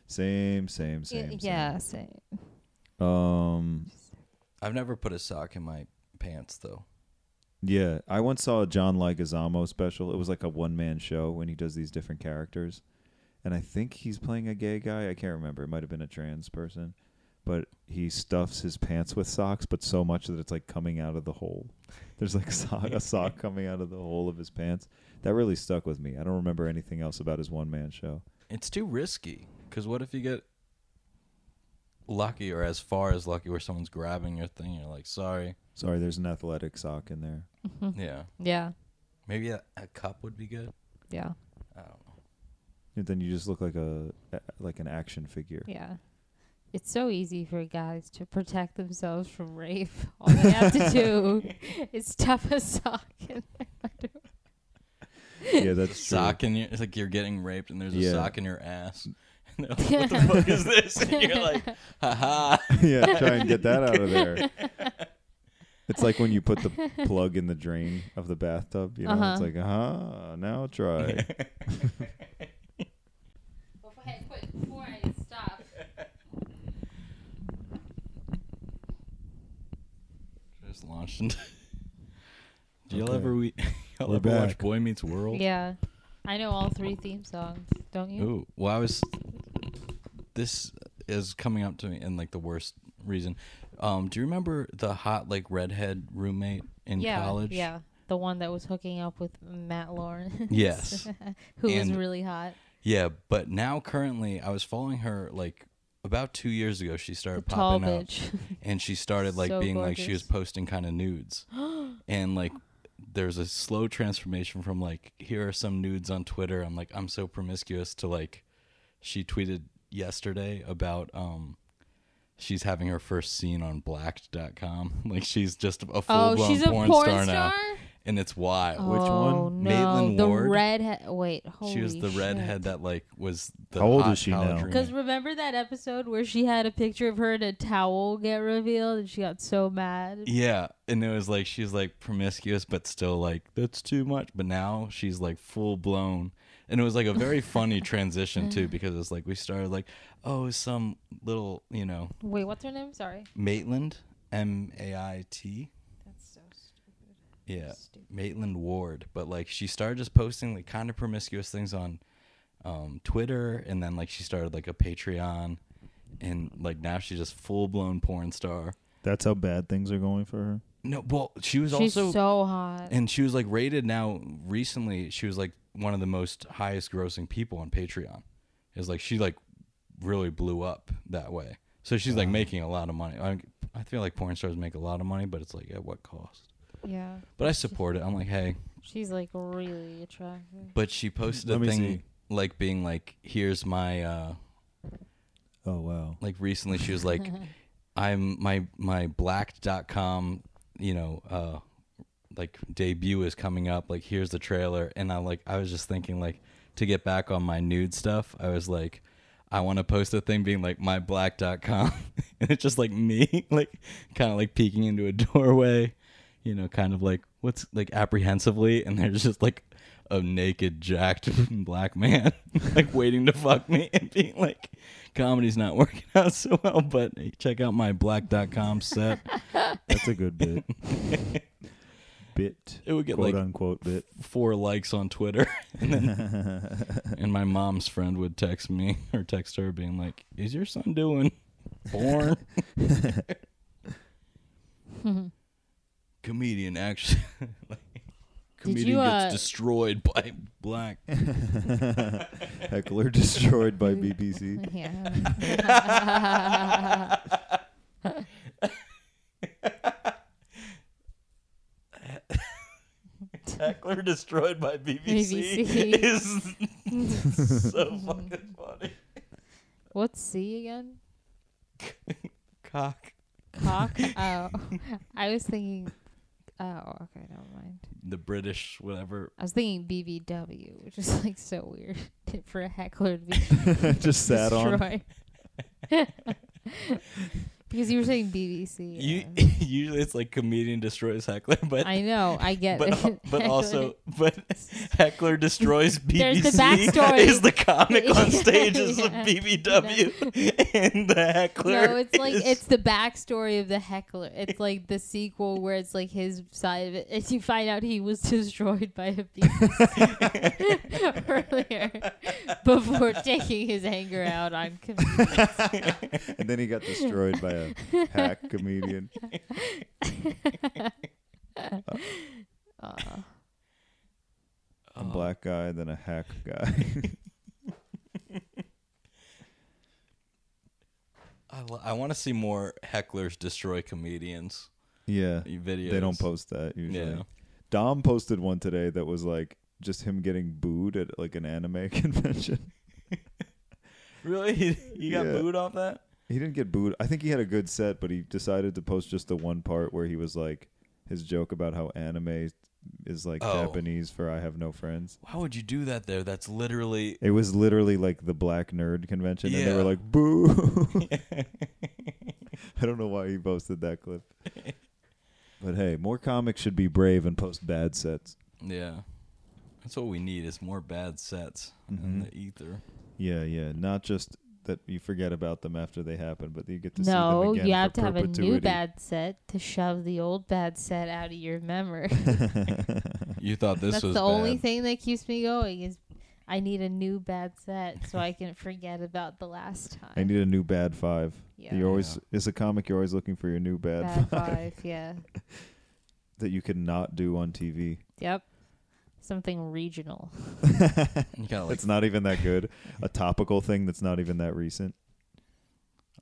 [SPEAKER 3] same, same,
[SPEAKER 4] Y-
[SPEAKER 3] same.
[SPEAKER 4] yeah, same.
[SPEAKER 3] same. Um.
[SPEAKER 5] I've never put a sock in my pants though.
[SPEAKER 3] Yeah, I once saw a John Leguizamo special. It was like a one man show when he does these different characters, and I think he's playing a gay guy. I can't remember. It might have been a trans person, but he stuffs his pants with socks, but so much that it's like coming out of the hole. There's like sock, a sock coming out of the hole of his pants. That really stuck with me. I don't remember anything else about his one man show.
[SPEAKER 5] It's too risky because what if you get lucky or as far as lucky where someone's grabbing your thing? You're like, sorry.
[SPEAKER 3] Sorry, there's an athletic sock in there.
[SPEAKER 4] Hmm.
[SPEAKER 5] yeah,
[SPEAKER 4] Yeah,
[SPEAKER 5] maybe a, a cup would be good.
[SPEAKER 4] yeah,
[SPEAKER 5] I don't know.
[SPEAKER 3] And then you just look like a like an action figure.
[SPEAKER 4] yeah. It's so easy for guys to protect themselves from rape. All they have to do is stuff a sock in their underwear.
[SPEAKER 3] Yeah, that's true.
[SPEAKER 5] Sock in your it's like you're getting raped and there's a
[SPEAKER 3] Yeah.
[SPEAKER 5] sock in your ass.
[SPEAKER 4] Mm.
[SPEAKER 5] And they're like, what the fuck is this? And you're like, haha.
[SPEAKER 3] yeah, try and get that out of there. It's like when you put the plug in the drain of the bathtub, you know, it's
[SPEAKER 4] Uh-huh.
[SPEAKER 3] like, ah, now try.
[SPEAKER 4] Before I, quit, before I stop.
[SPEAKER 5] Just launched into. Do y'all
[SPEAKER 3] Okay.
[SPEAKER 5] ever we? y'all
[SPEAKER 3] We're
[SPEAKER 5] ever watch
[SPEAKER 3] back.
[SPEAKER 5] Boy Meets World?
[SPEAKER 4] Yeah, I know all three theme songs. Don't you?
[SPEAKER 5] Ooh, well, I was. This is coming up to me in like the worst reason. Um, do you remember the hot like redhead roommate in
[SPEAKER 4] yeah,
[SPEAKER 5] college?
[SPEAKER 4] yeah. The one that was hooking up with Matt Lauren.
[SPEAKER 5] Yes.
[SPEAKER 4] who was
[SPEAKER 5] And-
[SPEAKER 4] really hot.
[SPEAKER 5] Yeah, but now currently, I was following her like about two years ago. She started
[SPEAKER 4] Tall
[SPEAKER 5] popping up,
[SPEAKER 4] bitch.
[SPEAKER 5] and she started like
[SPEAKER 4] So
[SPEAKER 5] being like she was
[SPEAKER 4] gorgeous.
[SPEAKER 5] posting kind of nudes, and like there's a slow transformation from like here are some nudes on Twitter. I'm like I'm so promiscuous to like she tweeted yesterday about um she's having her first scene on blacked.com like she's just a full
[SPEAKER 4] Oh,
[SPEAKER 5] blown
[SPEAKER 4] she's a
[SPEAKER 5] porn,
[SPEAKER 4] porn
[SPEAKER 5] star, now
[SPEAKER 4] star?
[SPEAKER 5] and it's wild
[SPEAKER 3] Which
[SPEAKER 4] oh,
[SPEAKER 3] one?
[SPEAKER 4] No,
[SPEAKER 5] Maitland
[SPEAKER 4] the
[SPEAKER 5] Ward?
[SPEAKER 4] redhead. Wait, holy
[SPEAKER 5] she was the
[SPEAKER 4] shit.
[SPEAKER 5] redhead that like was the
[SPEAKER 3] How old
[SPEAKER 5] hot
[SPEAKER 3] is she
[SPEAKER 5] college
[SPEAKER 3] now?
[SPEAKER 5] roommate.
[SPEAKER 4] Because remember that episode where she had a picture of her in a towel get revealed, and she got so mad.
[SPEAKER 5] Yeah, and it was like she's like promiscuous, but still like that's too much. But now she's like full blown, and it was like a very funny transition too,
[SPEAKER 4] Mm-hmm.
[SPEAKER 5] because it's like we started like, oh, some little you know
[SPEAKER 4] Wait, what's her name? Sorry,
[SPEAKER 5] Maitland M A I T,
[SPEAKER 4] that's so stupid.
[SPEAKER 5] yeah,
[SPEAKER 4] Stupid.
[SPEAKER 5] Maitland Ward. But like she started just posting like kind of promiscuous things on um, Twitter, and then like she started like a Patreon, and like now she's just full blown porn star.
[SPEAKER 3] That's how bad things are going for her.
[SPEAKER 5] No, well, she was
[SPEAKER 4] She's
[SPEAKER 5] also
[SPEAKER 4] so hot.
[SPEAKER 5] and she was like rated now recently she was like one of the most highest grossing people on patreon is like she like really blew up that way so she's like making a lot of money I, I feel like porn stars make a lot of money but it's like at what cost
[SPEAKER 4] yeah,
[SPEAKER 5] but i support it i'm like hey
[SPEAKER 4] she's like really attractive.
[SPEAKER 5] but she posted a
[SPEAKER 3] Let me
[SPEAKER 5] thing
[SPEAKER 3] see.
[SPEAKER 5] like being like here's my uh
[SPEAKER 3] Oh, wow.
[SPEAKER 5] like recently she was like i'm my my blacked.com you know uh like debut is coming up like here's the trailer and i like i was just thinking like to get back on my nude stuff i was like i want to post a thing being like my black.com and it's just like me like kind of like peeking into a doorway you know kind of like what's like apprehensively and there's just like a naked jacked black man like waiting to fuck me and being like comedy's not working out so well but check out my black.com set
[SPEAKER 3] That's a good bit. bit.
[SPEAKER 5] It would get,
[SPEAKER 3] quote
[SPEAKER 5] like,
[SPEAKER 3] unquote bit.
[SPEAKER 5] four likes on Twitter. And, then, and my mom's friend would text me or text her being like, Is your son doing porn? Comedian actually. like, comedian
[SPEAKER 4] you, uh,
[SPEAKER 5] gets destroyed by black.
[SPEAKER 3] Heckler destroyed by BBC.
[SPEAKER 4] Yeah.
[SPEAKER 5] Heckler destroyed by BBC,
[SPEAKER 4] BBC.
[SPEAKER 5] is so fucking funny.
[SPEAKER 4] What's C again?
[SPEAKER 5] Cock.
[SPEAKER 4] Cock. oh, I was thinking. Oh, okay, never mind.
[SPEAKER 5] The British, whatever.
[SPEAKER 4] I was thinking BBW, which is like so weird for a heckler to be
[SPEAKER 3] Just sat on.
[SPEAKER 4] destroyed. Because you were saying BBC.
[SPEAKER 5] You,
[SPEAKER 4] yeah.
[SPEAKER 5] usually it's like comedian destroys heckler, but
[SPEAKER 4] I know. I get
[SPEAKER 5] but
[SPEAKER 4] it.
[SPEAKER 5] but also but heckler destroys
[SPEAKER 4] There's
[SPEAKER 5] BBC
[SPEAKER 4] the backstory.
[SPEAKER 5] is the comic on stage is the
[SPEAKER 4] Yeah.
[SPEAKER 5] BBW and the heckler.
[SPEAKER 4] No, it's like
[SPEAKER 5] is-
[SPEAKER 4] it's the backstory of the heckler. It's like the sequel where it's like his side of it. If you find out he was destroyed by a beast earlier before taking his anger out on comedians.
[SPEAKER 3] and then he got destroyed by a hack comedian.
[SPEAKER 4] Aw.
[SPEAKER 3] A black guy, then a hack guy.
[SPEAKER 5] I, lo- I want to see more hecklers destroy comedians uh,
[SPEAKER 3] yeah.
[SPEAKER 5] videos.
[SPEAKER 3] They don't post that usually.
[SPEAKER 5] Yeah.
[SPEAKER 3] Dom posted one today that was like just him getting booed at like an anime convention.
[SPEAKER 5] Really? He, he got
[SPEAKER 3] Yeah.
[SPEAKER 5] booed off that?
[SPEAKER 3] He didn't get booed. I think he had a good set, but he decided to post just the one part where he was like his joke about how anime is like
[SPEAKER 5] Oh.
[SPEAKER 3] Japanese for I have no friends.
[SPEAKER 5] Why would you do that there? That's literally
[SPEAKER 3] It was literally like the black nerd convention, and they
[SPEAKER 5] Yeah.
[SPEAKER 3] were like, "Boo!" I don't know why he posted that clip, but hey, more comics should be brave and post bad sets.
[SPEAKER 5] yeah. That's what we need is more bad sets
[SPEAKER 3] Mm-hmm.
[SPEAKER 5] in the ether.
[SPEAKER 3] Yeah, yeah, not just that you forget about them after they happen, but you get to see them
[SPEAKER 4] No,
[SPEAKER 3] again
[SPEAKER 4] you
[SPEAKER 3] for
[SPEAKER 4] have to have a
[SPEAKER 3] perpetuity.
[SPEAKER 4] new bad set to shove the old bad set out of your memory.
[SPEAKER 5] You thought this
[SPEAKER 4] That's
[SPEAKER 5] was
[SPEAKER 4] the only
[SPEAKER 5] bad.
[SPEAKER 4] thing that keeps me going is I need a new bad set so I can forget about the last time.
[SPEAKER 3] I need a new bad five.
[SPEAKER 4] Yeah.
[SPEAKER 3] You're always it's a comic. You're always looking for your new bad,
[SPEAKER 4] bad
[SPEAKER 3] five
[SPEAKER 4] five, yeah.
[SPEAKER 3] that you can not do on TV.
[SPEAKER 4] Yep. Something regional.
[SPEAKER 5] You gotta, like,
[SPEAKER 3] It's not even that good. a topical thing that's not even that recent.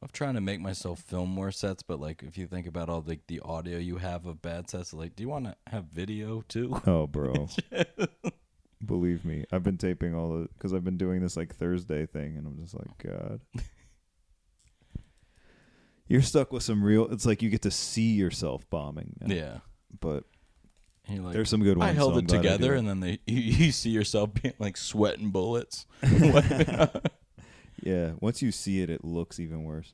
[SPEAKER 5] I'm trying to make myself film more sets, but like if you think about all like the audio you have of bad sets, like do you want to have video too?
[SPEAKER 3] Oh, bro. Believe me, I've been taping all the because I've been doing this like Thursday thing, and I'm just like, God. You're stuck with some real. It's like you get to see yourself bombing. Now,
[SPEAKER 5] Yeah.
[SPEAKER 3] but
[SPEAKER 5] And you're like,
[SPEAKER 3] there's some good ones.
[SPEAKER 5] I held
[SPEAKER 3] so I'm
[SPEAKER 5] it
[SPEAKER 3] glad I do
[SPEAKER 5] together,
[SPEAKER 3] it.
[SPEAKER 5] and then they you, you see yourself being like sweating bullets.
[SPEAKER 3] yeah, once you see it, it looks even worse.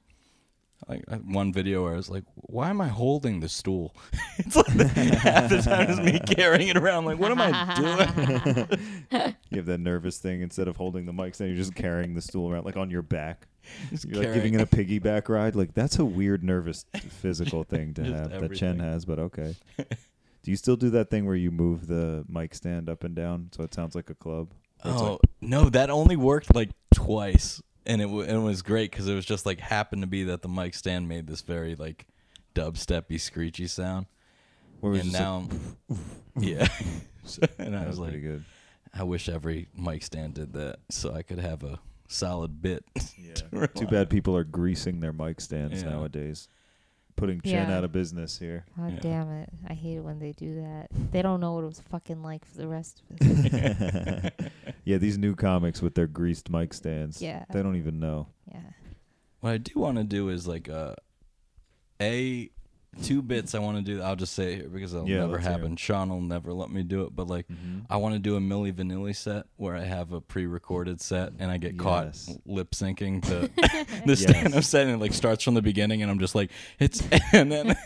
[SPEAKER 5] Like I- one video where I was like, "Why am I holding the stool?" it's like half the time is me carrying it around. Like, what am I doing?
[SPEAKER 3] You have that nervous thing instead of holding the mics, then you're just carrying the stool around like on your back. You're like
[SPEAKER 5] carrying-
[SPEAKER 3] giving it a piggyback ride. Like that's a weird nervous physical thing to
[SPEAKER 5] Just
[SPEAKER 3] have that
[SPEAKER 5] everything.
[SPEAKER 3] Chen has, but okay. Do you still do that thing where you move the mic stand up and down so it sounds like a club? Where it's
[SPEAKER 5] Oh
[SPEAKER 3] like-
[SPEAKER 5] no, that only worked like twice, and it w- it was great because it was just like happened to be that the mic stand made this very like dubsteppy screechy sound,
[SPEAKER 3] where it was
[SPEAKER 5] and
[SPEAKER 3] just like-
[SPEAKER 5] now yeah, So- and I
[SPEAKER 3] that
[SPEAKER 5] was
[SPEAKER 3] was
[SPEAKER 5] like,
[SPEAKER 3] pretty good.
[SPEAKER 5] I wish every mic stand did that so I could have a solid bit. Yeah.
[SPEAKER 3] Too bad people are greasing their mic stands
[SPEAKER 5] Yeah.
[SPEAKER 3] nowadays, putting Chen
[SPEAKER 4] Yeah.
[SPEAKER 3] out of business here.
[SPEAKER 4] God
[SPEAKER 5] Yeah.
[SPEAKER 4] damn it. I hate it when they do that. They don't know what it was fucking like for the rest of us.
[SPEAKER 3] Yeah, these new comics with their greased mic stands.
[SPEAKER 4] Yeah.
[SPEAKER 3] They don't even know.
[SPEAKER 4] yeah.
[SPEAKER 5] What I do want to do is like uh, a two bits I want to do. I'll just say it here because it'll
[SPEAKER 3] Yeah,
[SPEAKER 5] never
[SPEAKER 3] let's hear
[SPEAKER 5] happen.
[SPEAKER 3] it. Mm-hmm.
[SPEAKER 5] Sean will never let me do it. But like, I want to do a Milli Vanilli set where I have a pre-recorded set and I get caught
[SPEAKER 3] Yes.
[SPEAKER 5] lip syncing to the stand-up set and it like starts from the beginning and I'm just like it's and then. and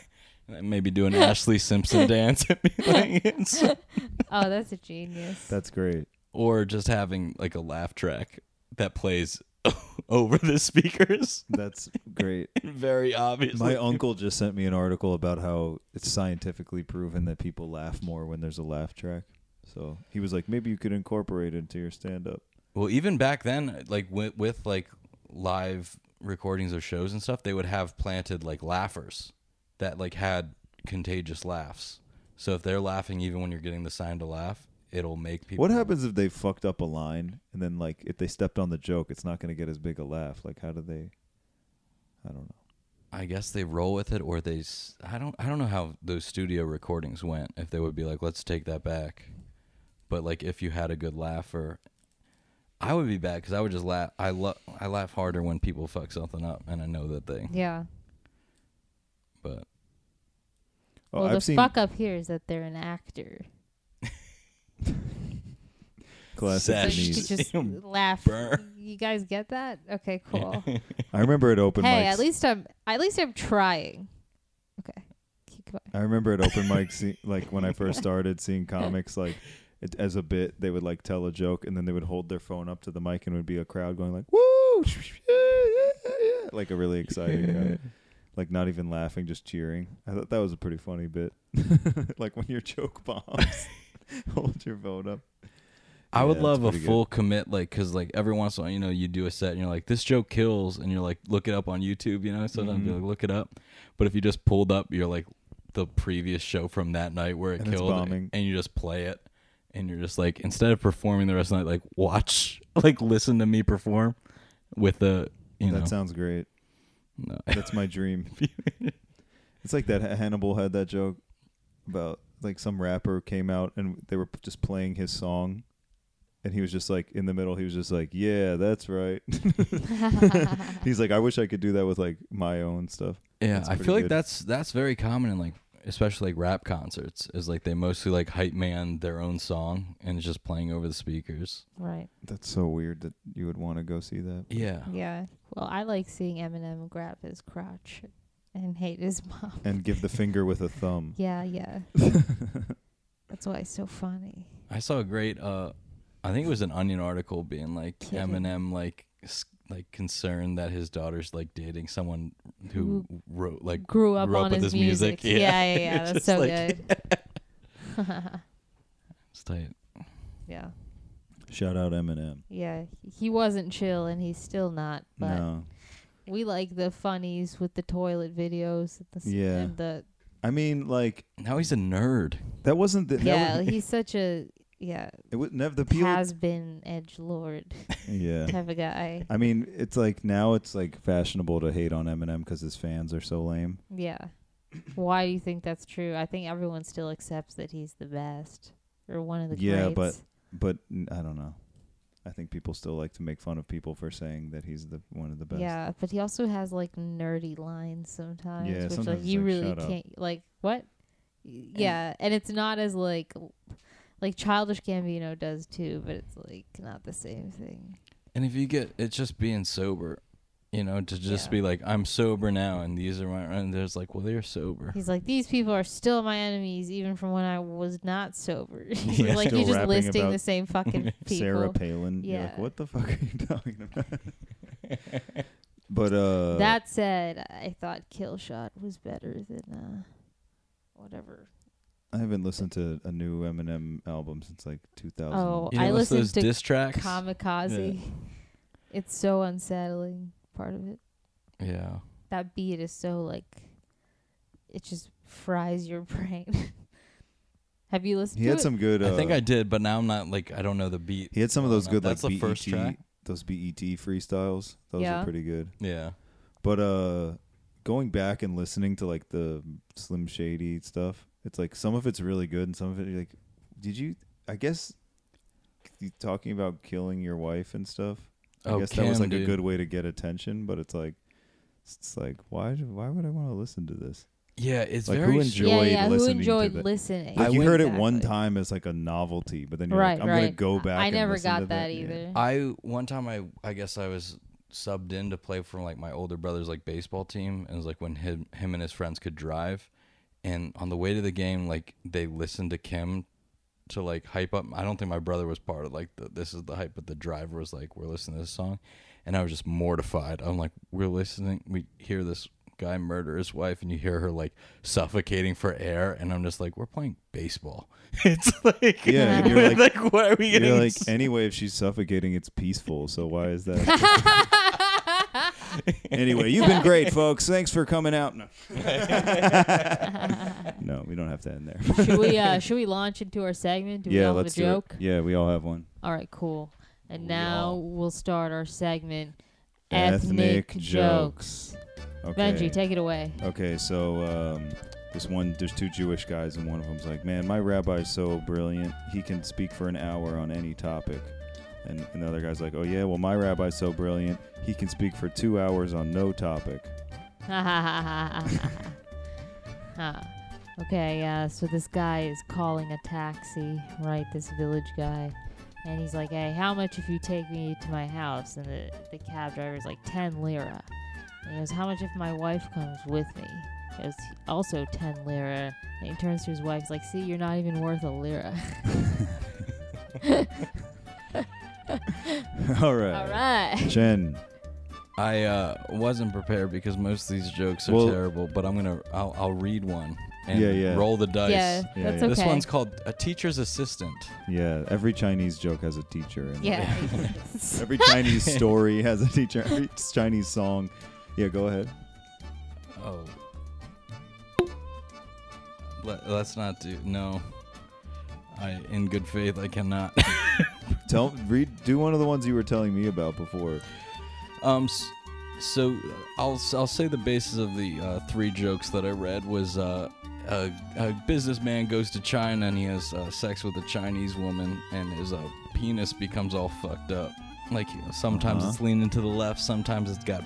[SPEAKER 5] I Maybe do an Ashley Simpson dance and be like, it's-
[SPEAKER 4] Oh, that's a genius.
[SPEAKER 3] That's great.
[SPEAKER 5] or just having like a laugh track that plays over the speakers,
[SPEAKER 3] That's great.
[SPEAKER 5] very obvious.
[SPEAKER 3] My uncle just sent me an article about how it's scientifically proven that people laugh more when there's a laugh track. So he was like, maybe you could incorporate it into your stand up.
[SPEAKER 5] Well, even back then, like with, with like live recordings of shows and stuff, they would have planted like laughers that like had contagious laughs. So if they're laughing, even when you're getting the sign to laugh, it'll make people.
[SPEAKER 3] What happens if they fucked up a line and then, like, if they stepped on the joke, it's not going to get as big a laugh? Like, how do they. I don't know.
[SPEAKER 5] I guess they roll with it, or they. s- I don't. I don't know how those studio recordings went. If they would be like, let's take that back, but like if you had a good laugh, or I would be bad because I would just laugh. I love. I laugh harder when people fuck something up, and I know that they.
[SPEAKER 4] Yeah.
[SPEAKER 5] But
[SPEAKER 3] Oh,
[SPEAKER 4] well,
[SPEAKER 3] I've
[SPEAKER 4] the
[SPEAKER 3] seen.
[SPEAKER 4] fuck up here is that they're an actor.
[SPEAKER 3] Classic
[SPEAKER 4] So you
[SPEAKER 3] Denise.
[SPEAKER 4] could just
[SPEAKER 5] Damn.
[SPEAKER 4] laugh.
[SPEAKER 5] Burr.
[SPEAKER 4] You guys get that? Okay, cool.
[SPEAKER 3] I remember at open
[SPEAKER 4] hey,
[SPEAKER 3] mics.
[SPEAKER 4] at least I'm at least I'm trying. Okay, keep going.
[SPEAKER 3] I remember at open mics, see- like when I first started seeing comics, like it, as a bit, they would like tell a joke and then they would hold their phone up to the mic and it would be a crowd going like "woo," like a really excited crowd, like not even laughing, just cheering. I thought that was a pretty funny bit, like when your joke bombs, hold your phone up.
[SPEAKER 5] I would
[SPEAKER 3] Yeah,
[SPEAKER 5] love
[SPEAKER 3] that's
[SPEAKER 5] a
[SPEAKER 3] pretty
[SPEAKER 5] full commit, like, because like every once in a while, you know, you do a set and you're like, this joke kills, and you're like, look it up on YouTube, you know. Sometimes
[SPEAKER 3] Mm-hmm.
[SPEAKER 5] you like, look it up, but if you just pulled up, you're like the previous show from that night where it
[SPEAKER 3] And it's
[SPEAKER 5] killed,
[SPEAKER 3] bombing.
[SPEAKER 5] and you just play it, and you're just like, instead of performing the rest of the night, like watch, like listen to me perform with the, you know,
[SPEAKER 3] That sounds great.
[SPEAKER 5] no.
[SPEAKER 3] That's my dream. it's like that Hannibal had that joke about like some rapper came out and they were just playing his song and he was just like in the middle he was just like yeah that's right he's like i wish i could do that with like my own stuff
[SPEAKER 5] Yeah,
[SPEAKER 3] That's
[SPEAKER 5] I
[SPEAKER 3] pretty
[SPEAKER 5] feel like
[SPEAKER 3] good.
[SPEAKER 5] that's that's very common in like especially like rap concerts is like they mostly like hype man their own song and it's just playing over the speakers.
[SPEAKER 4] Right.
[SPEAKER 3] that's so weird that you would want to go see that
[SPEAKER 5] Yeah.
[SPEAKER 4] Yeah. Well, I like seeing Eminem grab his crotch and hate his mom.
[SPEAKER 3] and give the finger with a thumb
[SPEAKER 4] Yeah, yeah. That's why it's so funny.
[SPEAKER 5] I saw a great uh I think it was an Onion article being like
[SPEAKER 4] Kidding.
[SPEAKER 5] Eminem like s- like concerned that his daughter's like dating someone who wrote like
[SPEAKER 4] Grew up
[SPEAKER 5] Grew up
[SPEAKER 4] on
[SPEAKER 5] with
[SPEAKER 4] his,
[SPEAKER 5] his music,
[SPEAKER 4] Yeah,
[SPEAKER 5] yeah.
[SPEAKER 4] yeah, yeah.
[SPEAKER 5] It's
[SPEAKER 4] That's
[SPEAKER 5] just
[SPEAKER 4] so
[SPEAKER 5] like-
[SPEAKER 4] good.
[SPEAKER 5] it's tight.
[SPEAKER 4] yeah,
[SPEAKER 3] shout out eminem
[SPEAKER 4] yeah. He wasn't chill, and he's still not. But
[SPEAKER 3] no
[SPEAKER 4] we like the funnies with the toilet videos. And the, s-
[SPEAKER 3] Yeah.
[SPEAKER 4] And the
[SPEAKER 3] i mean like
[SPEAKER 5] Now he's a nerd.
[SPEAKER 3] that wasn't the yeah.
[SPEAKER 4] yeah, he's such a yeah
[SPEAKER 3] it would never the appeal
[SPEAKER 4] has been edge lord
[SPEAKER 3] yeah
[SPEAKER 4] type of guy.
[SPEAKER 3] I mean, it's like now it's like fashionable to hate on Eminem because his fans are so lame.
[SPEAKER 4] Yeah. Why do you think that's true? I think everyone still accepts that he's the best or one of the
[SPEAKER 3] Yeah,
[SPEAKER 4] greats.
[SPEAKER 3] But n- I don't know. I think people still like to make fun of people for saying that he's the one of the best.
[SPEAKER 4] yeah, but he also has like nerdy lines sometimes,
[SPEAKER 3] Yeah,
[SPEAKER 4] which
[SPEAKER 3] sometimes
[SPEAKER 4] like you
[SPEAKER 3] it's like,
[SPEAKER 4] really
[SPEAKER 3] "Shut up."
[SPEAKER 4] can't like what? Y- Yeah, and it's not as like like childish Gambino does too, but it's like not the same thing.
[SPEAKER 5] And if you get it's just being sober, you know, to just
[SPEAKER 4] Yeah.
[SPEAKER 5] be like I'm sober now and these are my and there's like well they're sober.
[SPEAKER 4] He's like, these people are still my enemies, even from when I was not sober.
[SPEAKER 5] Yeah.
[SPEAKER 4] like
[SPEAKER 3] Still
[SPEAKER 4] you're just
[SPEAKER 3] rapping
[SPEAKER 4] listing
[SPEAKER 3] about
[SPEAKER 4] the same fucking people.
[SPEAKER 3] Sarah Palin. You're like,
[SPEAKER 4] Yeah.
[SPEAKER 3] what the fuck are you talking about? but uh
[SPEAKER 4] that said, I thought Kill Shot was better than uh, whatever.
[SPEAKER 3] I haven't listened to a new Eminem album since like 2000.
[SPEAKER 4] Oh,
[SPEAKER 5] You
[SPEAKER 4] I
[SPEAKER 5] know, it's
[SPEAKER 4] listened
[SPEAKER 5] those
[SPEAKER 4] to
[SPEAKER 5] diss tracks.
[SPEAKER 4] Kamikaze. It's so unsettling. Part of it.
[SPEAKER 5] yeah.
[SPEAKER 4] That beat is so like, it just fries your brain. Have you listened
[SPEAKER 3] he
[SPEAKER 4] to
[SPEAKER 3] had
[SPEAKER 4] it?
[SPEAKER 3] some good. Uh,
[SPEAKER 5] I think I did, but now I'm not like I don't know the beat.
[SPEAKER 3] He had some of those
[SPEAKER 5] Oh, no,
[SPEAKER 3] good
[SPEAKER 5] that's
[SPEAKER 3] like
[SPEAKER 5] the
[SPEAKER 3] BET.
[SPEAKER 5] first track.
[SPEAKER 3] Those BET freestyles. Those
[SPEAKER 4] Yeah.
[SPEAKER 3] are pretty good.
[SPEAKER 5] Yeah.
[SPEAKER 3] But uh going back and listening to like the Slim Shady stuff, it's like some of it's really good and some of it you're like did you I guess you talking about killing your wife and stuff. I
[SPEAKER 5] Oh,
[SPEAKER 3] guess that was
[SPEAKER 5] Kim,
[SPEAKER 3] like a
[SPEAKER 5] dude.
[SPEAKER 3] good way to get attention, but it's like it's like why do- why would I want to listen to this?
[SPEAKER 5] Yeah, it's
[SPEAKER 3] Like, who
[SPEAKER 5] very
[SPEAKER 3] enjoy-
[SPEAKER 5] strange.
[SPEAKER 4] yeah,
[SPEAKER 3] enjoyed
[SPEAKER 4] yeah. Who
[SPEAKER 3] listening to
[SPEAKER 4] enjoyed
[SPEAKER 3] that?
[SPEAKER 4] listening?
[SPEAKER 3] Like you
[SPEAKER 5] went-
[SPEAKER 3] heard it one
[SPEAKER 4] Exactly.
[SPEAKER 3] time as like a novelty, but then you're
[SPEAKER 4] Right,
[SPEAKER 3] like I'm
[SPEAKER 4] right.
[SPEAKER 3] going to go back
[SPEAKER 4] I
[SPEAKER 3] and
[SPEAKER 4] never
[SPEAKER 3] listen to
[SPEAKER 4] got that
[SPEAKER 3] Yeah.
[SPEAKER 4] either.
[SPEAKER 5] I one time I I guess I was subbed in to play for like my older brother's like baseball team, and it was like when him him and his friends could drive, and on the way to the game, like they listened to Kim to like hype up. I don't think my brother was part of like the, this is the hype, but the driver was like, "We're listening to this song," and I was just mortified. I'm like, "We're listening. We hear this." guy murder his wife and you hear her like suffocating for air and i'm just like we're playing baseball it's like
[SPEAKER 3] Yeah, and you're like,
[SPEAKER 5] like what are we getting
[SPEAKER 3] you're like anyway if she's suffocating it's peaceful, so why is that? Anyway, you've been great, folks. Thanks for coming out. No, no we don't have to end there.
[SPEAKER 4] should we uh, should we launch into our segment? Do we
[SPEAKER 3] yeah,
[SPEAKER 4] all
[SPEAKER 3] let's
[SPEAKER 4] have a joke?
[SPEAKER 3] do it. Yeah, we all have one.
[SPEAKER 4] All right, cool. And
[SPEAKER 5] We
[SPEAKER 4] now
[SPEAKER 5] all-
[SPEAKER 4] we'll start our segment
[SPEAKER 3] Ethnic, jokes. Okay.
[SPEAKER 4] Benji, take it away.
[SPEAKER 3] okay, so um, this one, there's two Jewish guys, and one of them's like, "Man, my rabbi's so brilliant. He can speak for an hour on any topic." And another guy's like, "Oh yeah, well my rabbi's so brilliant. He can speak for two hours on no topic."
[SPEAKER 4] Huh. okay, uh, so this guy is calling a taxi, right? This village guy. And he's like, hey, how much if you take me to my house? And the, the cab driver's like, 10 lira. And he goes, how much if my wife comes with me? It was also 10 lira. And he turns to his wife, he's like, see, you're not even worth a lira.
[SPEAKER 3] All right.
[SPEAKER 4] All right.
[SPEAKER 3] Jen,
[SPEAKER 5] I uh, wasn't prepared because most of these jokes are
[SPEAKER 3] Well-
[SPEAKER 5] terrible, but I'm gonna I'll, I'll read one and
[SPEAKER 3] Yeah, yeah.
[SPEAKER 5] roll the dice.
[SPEAKER 4] Yeah,
[SPEAKER 3] Yeah, yeah.
[SPEAKER 4] that's okay.
[SPEAKER 5] This one's called a teacher's assistant.
[SPEAKER 3] yeah, every Chinese joke has a teacher. In it.
[SPEAKER 4] Yeah.
[SPEAKER 3] Every Chinese story has a teacher. Every Chinese song. Yeah, go ahead.
[SPEAKER 5] Oh, Let, let's not do no. I in good faith I cannot.
[SPEAKER 3] Tell read do one of the ones you were telling me about before.
[SPEAKER 5] Um, s- so I'll s- I'll say the basis of the uh, three jokes that I read was uh, a, a businessman goes to China and he has uh, sex with a Chinese woman and his uh, penis becomes all fucked up. Like you know, sometimes
[SPEAKER 3] Uh-huh.
[SPEAKER 5] it's leaning to the left, sometimes it's got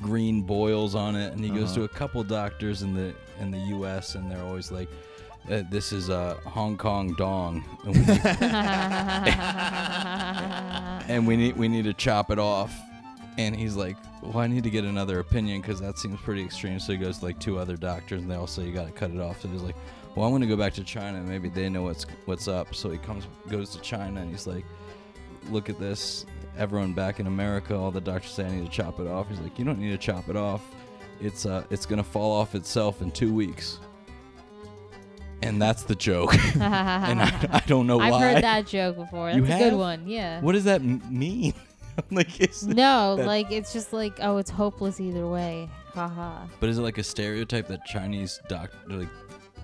[SPEAKER 5] green boils on it, and he goes to a couple doctors in the in the U.S. and they're always like. Uh, this is uh, Hong Kong dong, and we, need, and we need we need to chop it off and he's like, "Well, I need to get another opinion because that seems pretty extreme." So he goes to like two other doctors, and they all say you got to cut it off. So he's like, "Well, I'm gonna go back to China. and Maybe they know what's what's up." So he comes, goes to China, and he's like, "Look at this! Everyone back in America, all the doctors say I need to chop it off." He's like, "You don't need to chop it off. It's uh, it's gonna fall off itself in two weeks." And that's the joke. and I, I don't know
[SPEAKER 4] Ah. I've
[SPEAKER 5] why.
[SPEAKER 4] heard that joke before. That's
[SPEAKER 5] You
[SPEAKER 4] a
[SPEAKER 5] have?
[SPEAKER 4] good one. Yeah.
[SPEAKER 5] What does that m- mean? like, is
[SPEAKER 4] No,
[SPEAKER 5] That-
[SPEAKER 4] like it's just like oh, it's hopeless either way. Haha.
[SPEAKER 5] But is it like a stereotype that Chinese doc like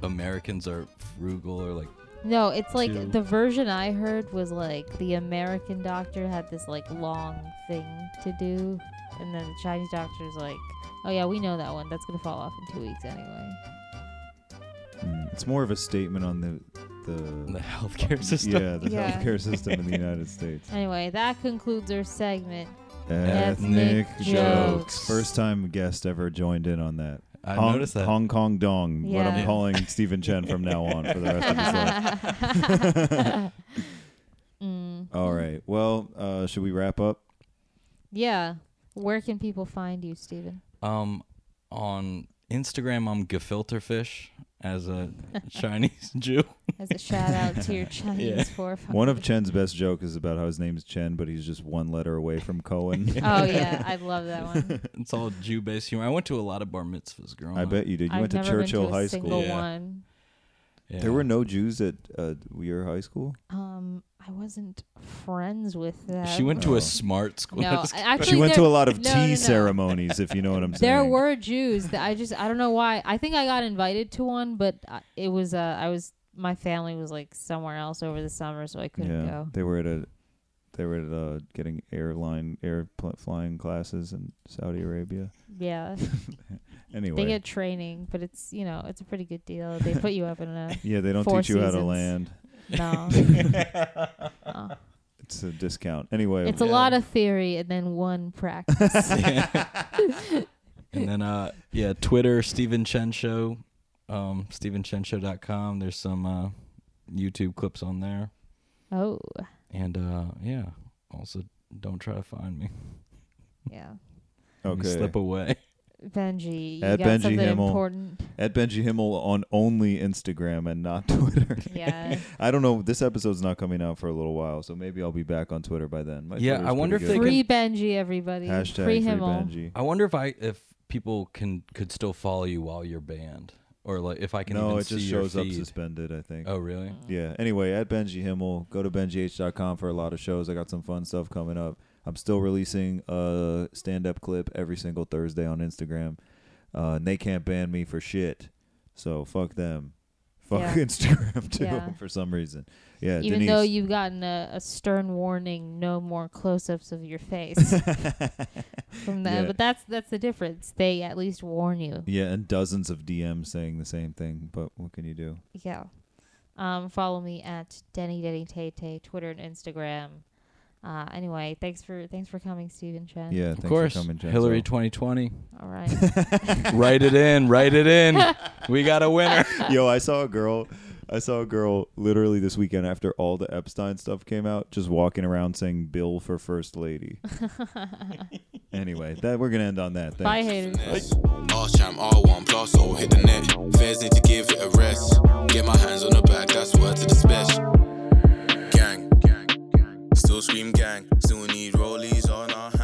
[SPEAKER 5] Americans are frugal or like
[SPEAKER 4] No, it's like
[SPEAKER 5] Two.
[SPEAKER 4] the version I heard was like the American doctor had this like long thing to do, and then the Chinese doctor's like, oh yeah, we know that one. That's gonna fall off in two weeks anyway.
[SPEAKER 3] Mm, It's more of a statement on the
[SPEAKER 5] the
[SPEAKER 3] the,
[SPEAKER 5] healthcare system?
[SPEAKER 3] yeah the
[SPEAKER 4] Yeah.
[SPEAKER 3] healthcare system in the United States.
[SPEAKER 4] Anyway, that concludes our segment.
[SPEAKER 3] Ethnic
[SPEAKER 4] Ethnic
[SPEAKER 3] jokes.
[SPEAKER 4] jokes.
[SPEAKER 3] First time guest ever joined in on that.
[SPEAKER 5] I
[SPEAKER 3] Hong,
[SPEAKER 5] noticed that.
[SPEAKER 3] Hong Kong Dong. What I'm
[SPEAKER 4] Yeah.
[SPEAKER 3] calling Stephen Chen from now on for the rest of his life.
[SPEAKER 4] Mm.
[SPEAKER 3] All right. Well, uh, should we wrap up?
[SPEAKER 4] Yeah. Where can people find you, Steven?
[SPEAKER 5] Um on Instagram I'm gefilterfish as a Chinese Jew.
[SPEAKER 4] As a shout out to your Chinese
[SPEAKER 5] Yeah.
[SPEAKER 4] forefathers.
[SPEAKER 3] One of Chen's best jokes is about how his name's Chen, but he's just one letter away from Cohen.
[SPEAKER 4] Oh yeah, I love that one.
[SPEAKER 5] It's all Jew based humor. I went to a lot of bar mitzvahs growing
[SPEAKER 3] I
[SPEAKER 5] up.
[SPEAKER 3] bet you did. You
[SPEAKER 4] Oh, I've
[SPEAKER 3] went to
[SPEAKER 4] never been
[SPEAKER 3] Churchill
[SPEAKER 4] to a
[SPEAKER 3] High
[SPEAKER 4] Single
[SPEAKER 3] School.
[SPEAKER 5] Yeah.
[SPEAKER 4] one.
[SPEAKER 5] Yeah.
[SPEAKER 3] There were no Jews at uh, your high school.
[SPEAKER 4] Um, I wasn't friends with them.
[SPEAKER 5] She went to
[SPEAKER 3] Oh.
[SPEAKER 5] a smart school.
[SPEAKER 4] No, I- actually,
[SPEAKER 3] she went
[SPEAKER 4] there,
[SPEAKER 3] to a lot of
[SPEAKER 4] no,
[SPEAKER 3] tea
[SPEAKER 4] no, no.
[SPEAKER 3] ceremonies, if you know what I'm saying.
[SPEAKER 4] There were Jews that I just I don't know why. I think I got invited to one, but I- it was uh I was my family was like somewhere else over the summer, so I couldn't
[SPEAKER 3] yeah,
[SPEAKER 4] go.
[SPEAKER 3] they were at a, they were at uh getting airline air pl- flying classes in Saudi Arabia.
[SPEAKER 4] Yeah,
[SPEAKER 3] Anyway,
[SPEAKER 4] they get training, but it's you know it's a pretty good deal. They put you up in a
[SPEAKER 3] yeah, they don't
[SPEAKER 4] four
[SPEAKER 3] teach you how to
[SPEAKER 4] seasons.
[SPEAKER 3] land.
[SPEAKER 4] no. No.
[SPEAKER 3] It's a discount. Anyway,
[SPEAKER 4] Oh. It's a lot of theory and then one practice.
[SPEAKER 5] and then uh yeah, Twitter, Stephen Chen Show, um StephenChenShow.com. There's some uh YouTube clips on there.
[SPEAKER 4] oh,
[SPEAKER 5] And uh yeah, also don't try to find me.
[SPEAKER 4] yeah.
[SPEAKER 5] You
[SPEAKER 3] okay.
[SPEAKER 5] slip away.
[SPEAKER 4] Benji, you
[SPEAKER 3] At
[SPEAKER 4] got
[SPEAKER 3] Benji
[SPEAKER 4] something
[SPEAKER 3] Himmel.
[SPEAKER 4] important.
[SPEAKER 3] At Benji Himmel on only Instagram and not Twitter.
[SPEAKER 4] Yeah.
[SPEAKER 3] I don't know. This episode's not coming out for a little while, so maybe I'll be back on Twitter by then. My
[SPEAKER 5] Yeah,
[SPEAKER 3] Twitter's
[SPEAKER 5] I wonder
[SPEAKER 3] pretty
[SPEAKER 5] if
[SPEAKER 3] good.
[SPEAKER 4] free Benji, everybody.
[SPEAKER 3] hashtag
[SPEAKER 4] free
[SPEAKER 3] free
[SPEAKER 4] Himmel.
[SPEAKER 3] Benji.
[SPEAKER 5] I wonder if I if people can could still follow you while you're banned, or like if I can.
[SPEAKER 3] No,
[SPEAKER 5] even
[SPEAKER 3] it just
[SPEAKER 5] see your
[SPEAKER 3] shows up
[SPEAKER 5] feed.
[SPEAKER 3] suspended. I think.
[SPEAKER 5] Oh really?
[SPEAKER 3] Yeah. Anyway, at Benji Himmel, go to benjih.com for a lot of shows. I got some fun stuff coming up. I'm still releasing a stand-up clip every single Thursday on Instagram. Uh, and they can't ban me for shit, so fuck them. Fuck
[SPEAKER 4] Yeah.
[SPEAKER 3] Instagram too
[SPEAKER 4] Yeah.
[SPEAKER 3] for some reason. Yeah,
[SPEAKER 4] Even
[SPEAKER 3] Denise.
[SPEAKER 4] though you've gotten a, a stern warning, no more close-ups of your face from them,
[SPEAKER 3] Yeah.
[SPEAKER 4] but that's that's the difference. They at least warn you.
[SPEAKER 3] yeah, and dozens of DMs saying the same thing. But what can you do?
[SPEAKER 4] Yeah. Um, follow me at Denny Denny Tay Tay Twitter and Instagram. Uh, anyway, thanks for thanks for coming, Stephen Chen.
[SPEAKER 3] Yeah,
[SPEAKER 5] Of
[SPEAKER 3] thanks
[SPEAKER 5] course.
[SPEAKER 3] for coming, Jen.
[SPEAKER 5] Hillary
[SPEAKER 3] So-
[SPEAKER 5] 2020.
[SPEAKER 4] All right.
[SPEAKER 5] write it in. Write it in. We got a winner.
[SPEAKER 3] Yo, I saw a girl I saw a girl literally this weekend after all the Epstein stuff came out, just walking around saying "Bill for First Lady." anyway, that we're gonna end on that. Thanks.
[SPEAKER 4] Bye, haters.
[SPEAKER 2] finesse. All champ, all one plus, so hit the net. Fairs need to give it a rest. Get my hands on the bag, that's word to the special. Gang, gang, gang. Still scream gang. Still need rollies on our